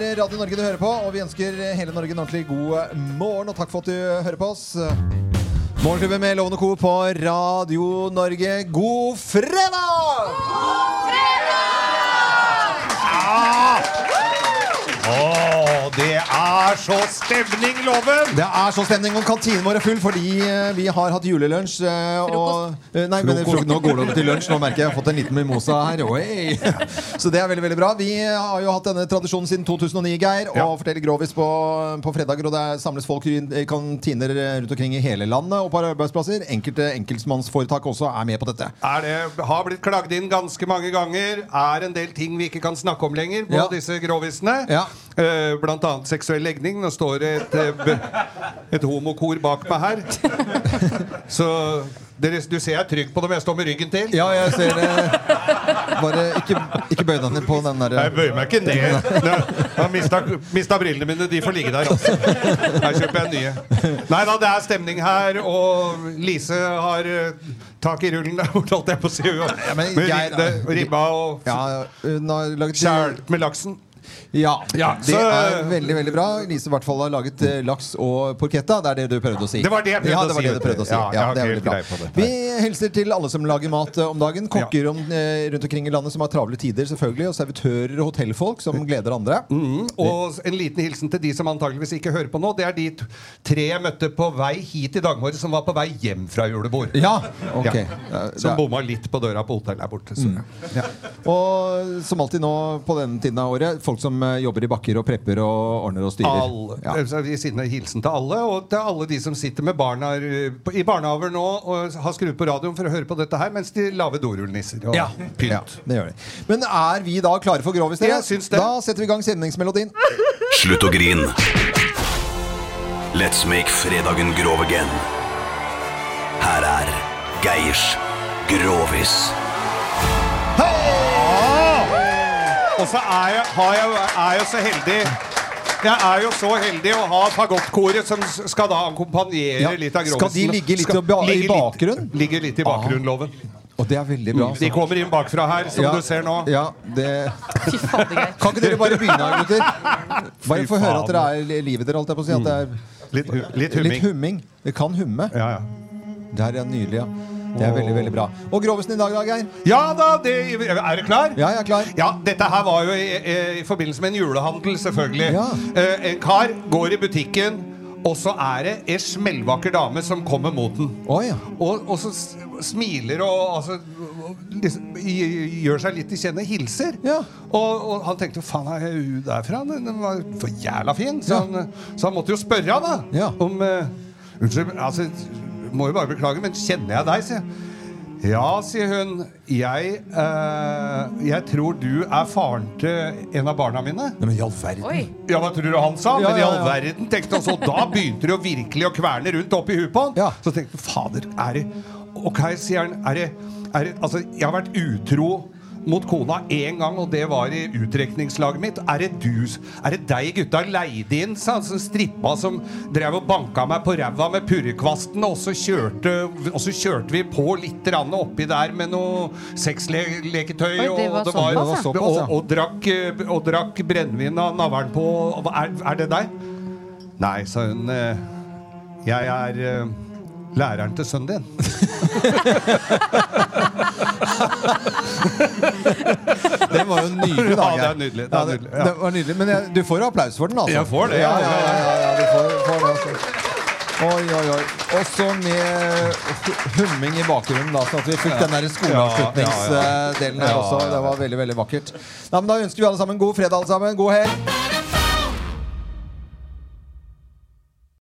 er Radio Norge du hører på, og vi ønsker hele Norge en ordentlig god eh, morgen, og takk for at du hører på oss. Morgenklubben med Lovende Co. på Radio Norge, god fredag!
Ja! Å, det er så stemning, Loven!
Det er så stemning om kantinen vår er full fordi eh, vi har hatt julelunsj. eh, og- eh, Nei, men
Frokost.
frok- Nå går det over til lunsj. Nå merker jeg jeg har fått en liten mimosa her. Oi. Så det er veldig veldig bra. Vi eh, har jo hatt denne tradisjonen siden 2009, Geir. Og forteller grovis på, på fredager. Og det er, samles folk i i kantiner eh, rundt omkring i hele landet og på arbeidsplasser. Enkelte enkeltmannsforetak også er med på dette.
Er det, har blitt klagd inn ganske mange ganger. Er en del ting vi ikke kan snakke om lenger på
Ja.
disse grovisene. Eh, blant annet seksuell legning. Nå står det et, eh, b- et homokor bak meg her. Så dere, du ser jeg er trygg på dem. Jeg står med ryggen til.
Ja, jeg ser det. Bare ikke, ikke bøy deg ned på den der
Jeg bøyer meg ikke ned. Nå- Jeg har mista, mista brillene mine. De får ligge der. Altså. Her kjøper jeg nye. Nei da, det er stemning her, og Lise har eh, tak i rullen der borte, holdt jeg på å si. Ja,
men Geir-
ribba og
Ja, hun har laget
Skjært med laksen.
Ja,
Ja,
det
så-
er veldig veldig bra. Lise i hvert fall har laget eh, laks og porchetta. Det er det du prøvde å si.
Det var det jeg prøvde
ja,
å
det var
si,
Det du prøvde å si. Ja,
Ja, jeg har
det er
ikke
veldig bra.
helt greie på det.
Vi hilser til alle som lager mat eh, om dagen. Kokker om, eh, rundt omkring i landet som har travle tider, selvfølgelig. Og servitører og hotellfolk som gleder andre.
Mm. Og en liten hilsen til de som antageligvis ikke hører på nå. Det er de t- tre jeg møtte på vei hit i dag morges, som var på vei hjem fra julebord.
ok.
Ja. Som bomma litt på døra på hotellet her borte. Så.
Og som alltid nå på denne tiden av året, folk som eh, jobber i bakker og prepper og ordner og styrer.
Alle. eh, Så Vi sender hilsen til alle, og til alle de som sitter med barna eh, på- i barnehaver nå og har skrudd på radioen for å høre på dette her mens de lager dorullnisser og pynt.
det gjør de. Men er vi da klare for grovis? dere?
Jeg syns det.
Da setter vi i gang sendningsmelodien.
Slutt å grin. Let's make fredagen grov again. Her er Geirs Grovis.
Og så er jeg, har jeg, er jeg så heldig jeg er jo så heldig å ha fagottkoret som s- skal da akkompagnere
Ja,
litt av
skal
grovisen.
de ligge litt
Skal-
og ba- i
ligge litt-
bakgrunnen?
Ligge litt i bakgrunnen, loven.
Og det er veldig bra. altså.
De kommer inn bakfra her, Mm. som
Ja.
du ser nå.
Ja, det... Kan ikke dere bare begynne, her, gutter? Bare få høre at dere er livet dere, holdt jeg på å si. At det er
litt, Mm. litt humming.
Det kan humme. Der, ja. Nydelig, ja. Det er veldig, veldig bra. Og grovesen i dag, da, Geir?
Ja da, det, er du klar?
Ja, jeg er klar.
Ja, dette her var jo i, i, i forbindelse med en julehandel, selvfølgelig. Eh, en kar går i butikken, og så er det ei smellvakker dame som kommer mot den. og, og så s- smiler og altså, liksom, i- gjør seg litt til kjenne, hilser. Og, og han tenkte 'faen, er jeg hun derfra?' Den den var for jævla fin. Så, han, så han måtte jo spørre han da om eh, Unnskyld, altså, må jo bare beklage, men kjenner jeg deg? sier jeg. Ja, sier hun. Jeg, eh, jeg tror du er faren til en av barna mine.
Nei, men i all verden.
Ja, hva tror du han sa?
Ja,
men i
ja,
all
ja.
verden, tenkte han. Så da begynte det jo virkelig å kverne rundt oppi huet på han. Så tenkte han, fader, er det Ok, sier han. Er det, er det Altså, jeg har vært utro mot kona én gang, og det var i utdrekningslaget mitt. Er det du s- Er det deg gutta leide inn, sa han, som strippa som drev og banka meg på ræva med purrekvasten, og så kjørte, og så kjørte vi på litt grann oppi der med noe sexleketøy,
Oi,
og
det var
det var,
såpass, ja.
og, og, drakk, eh, og drakk brennevin av navlen på og er, er det deg? Nei, sa hun. eh, Jeg er eh, læreren til sønnen din.
Den var jo nydelig, da,
Ja, det
Geir.
er nydelig, det er
Ja,
nydelig, ja.
det var nydelig. Men jeg, du får jo applaus for den, altså.
Jeg får det,
Ja,
ja.
ja, ja, ja, ja du får, får det, altså. Oi, oi, oi. Også med humming i bakgrunnen, da, sånn at vi fikk
Ja.
den der skoleavslutningsdelen
Ja, ja, ja.
her
Ja,
også.
ja, ja.
Det var veldig, veldig vakkert. Nei, men da ønsker vi alle sammen god fredag, alle sammen. God helg.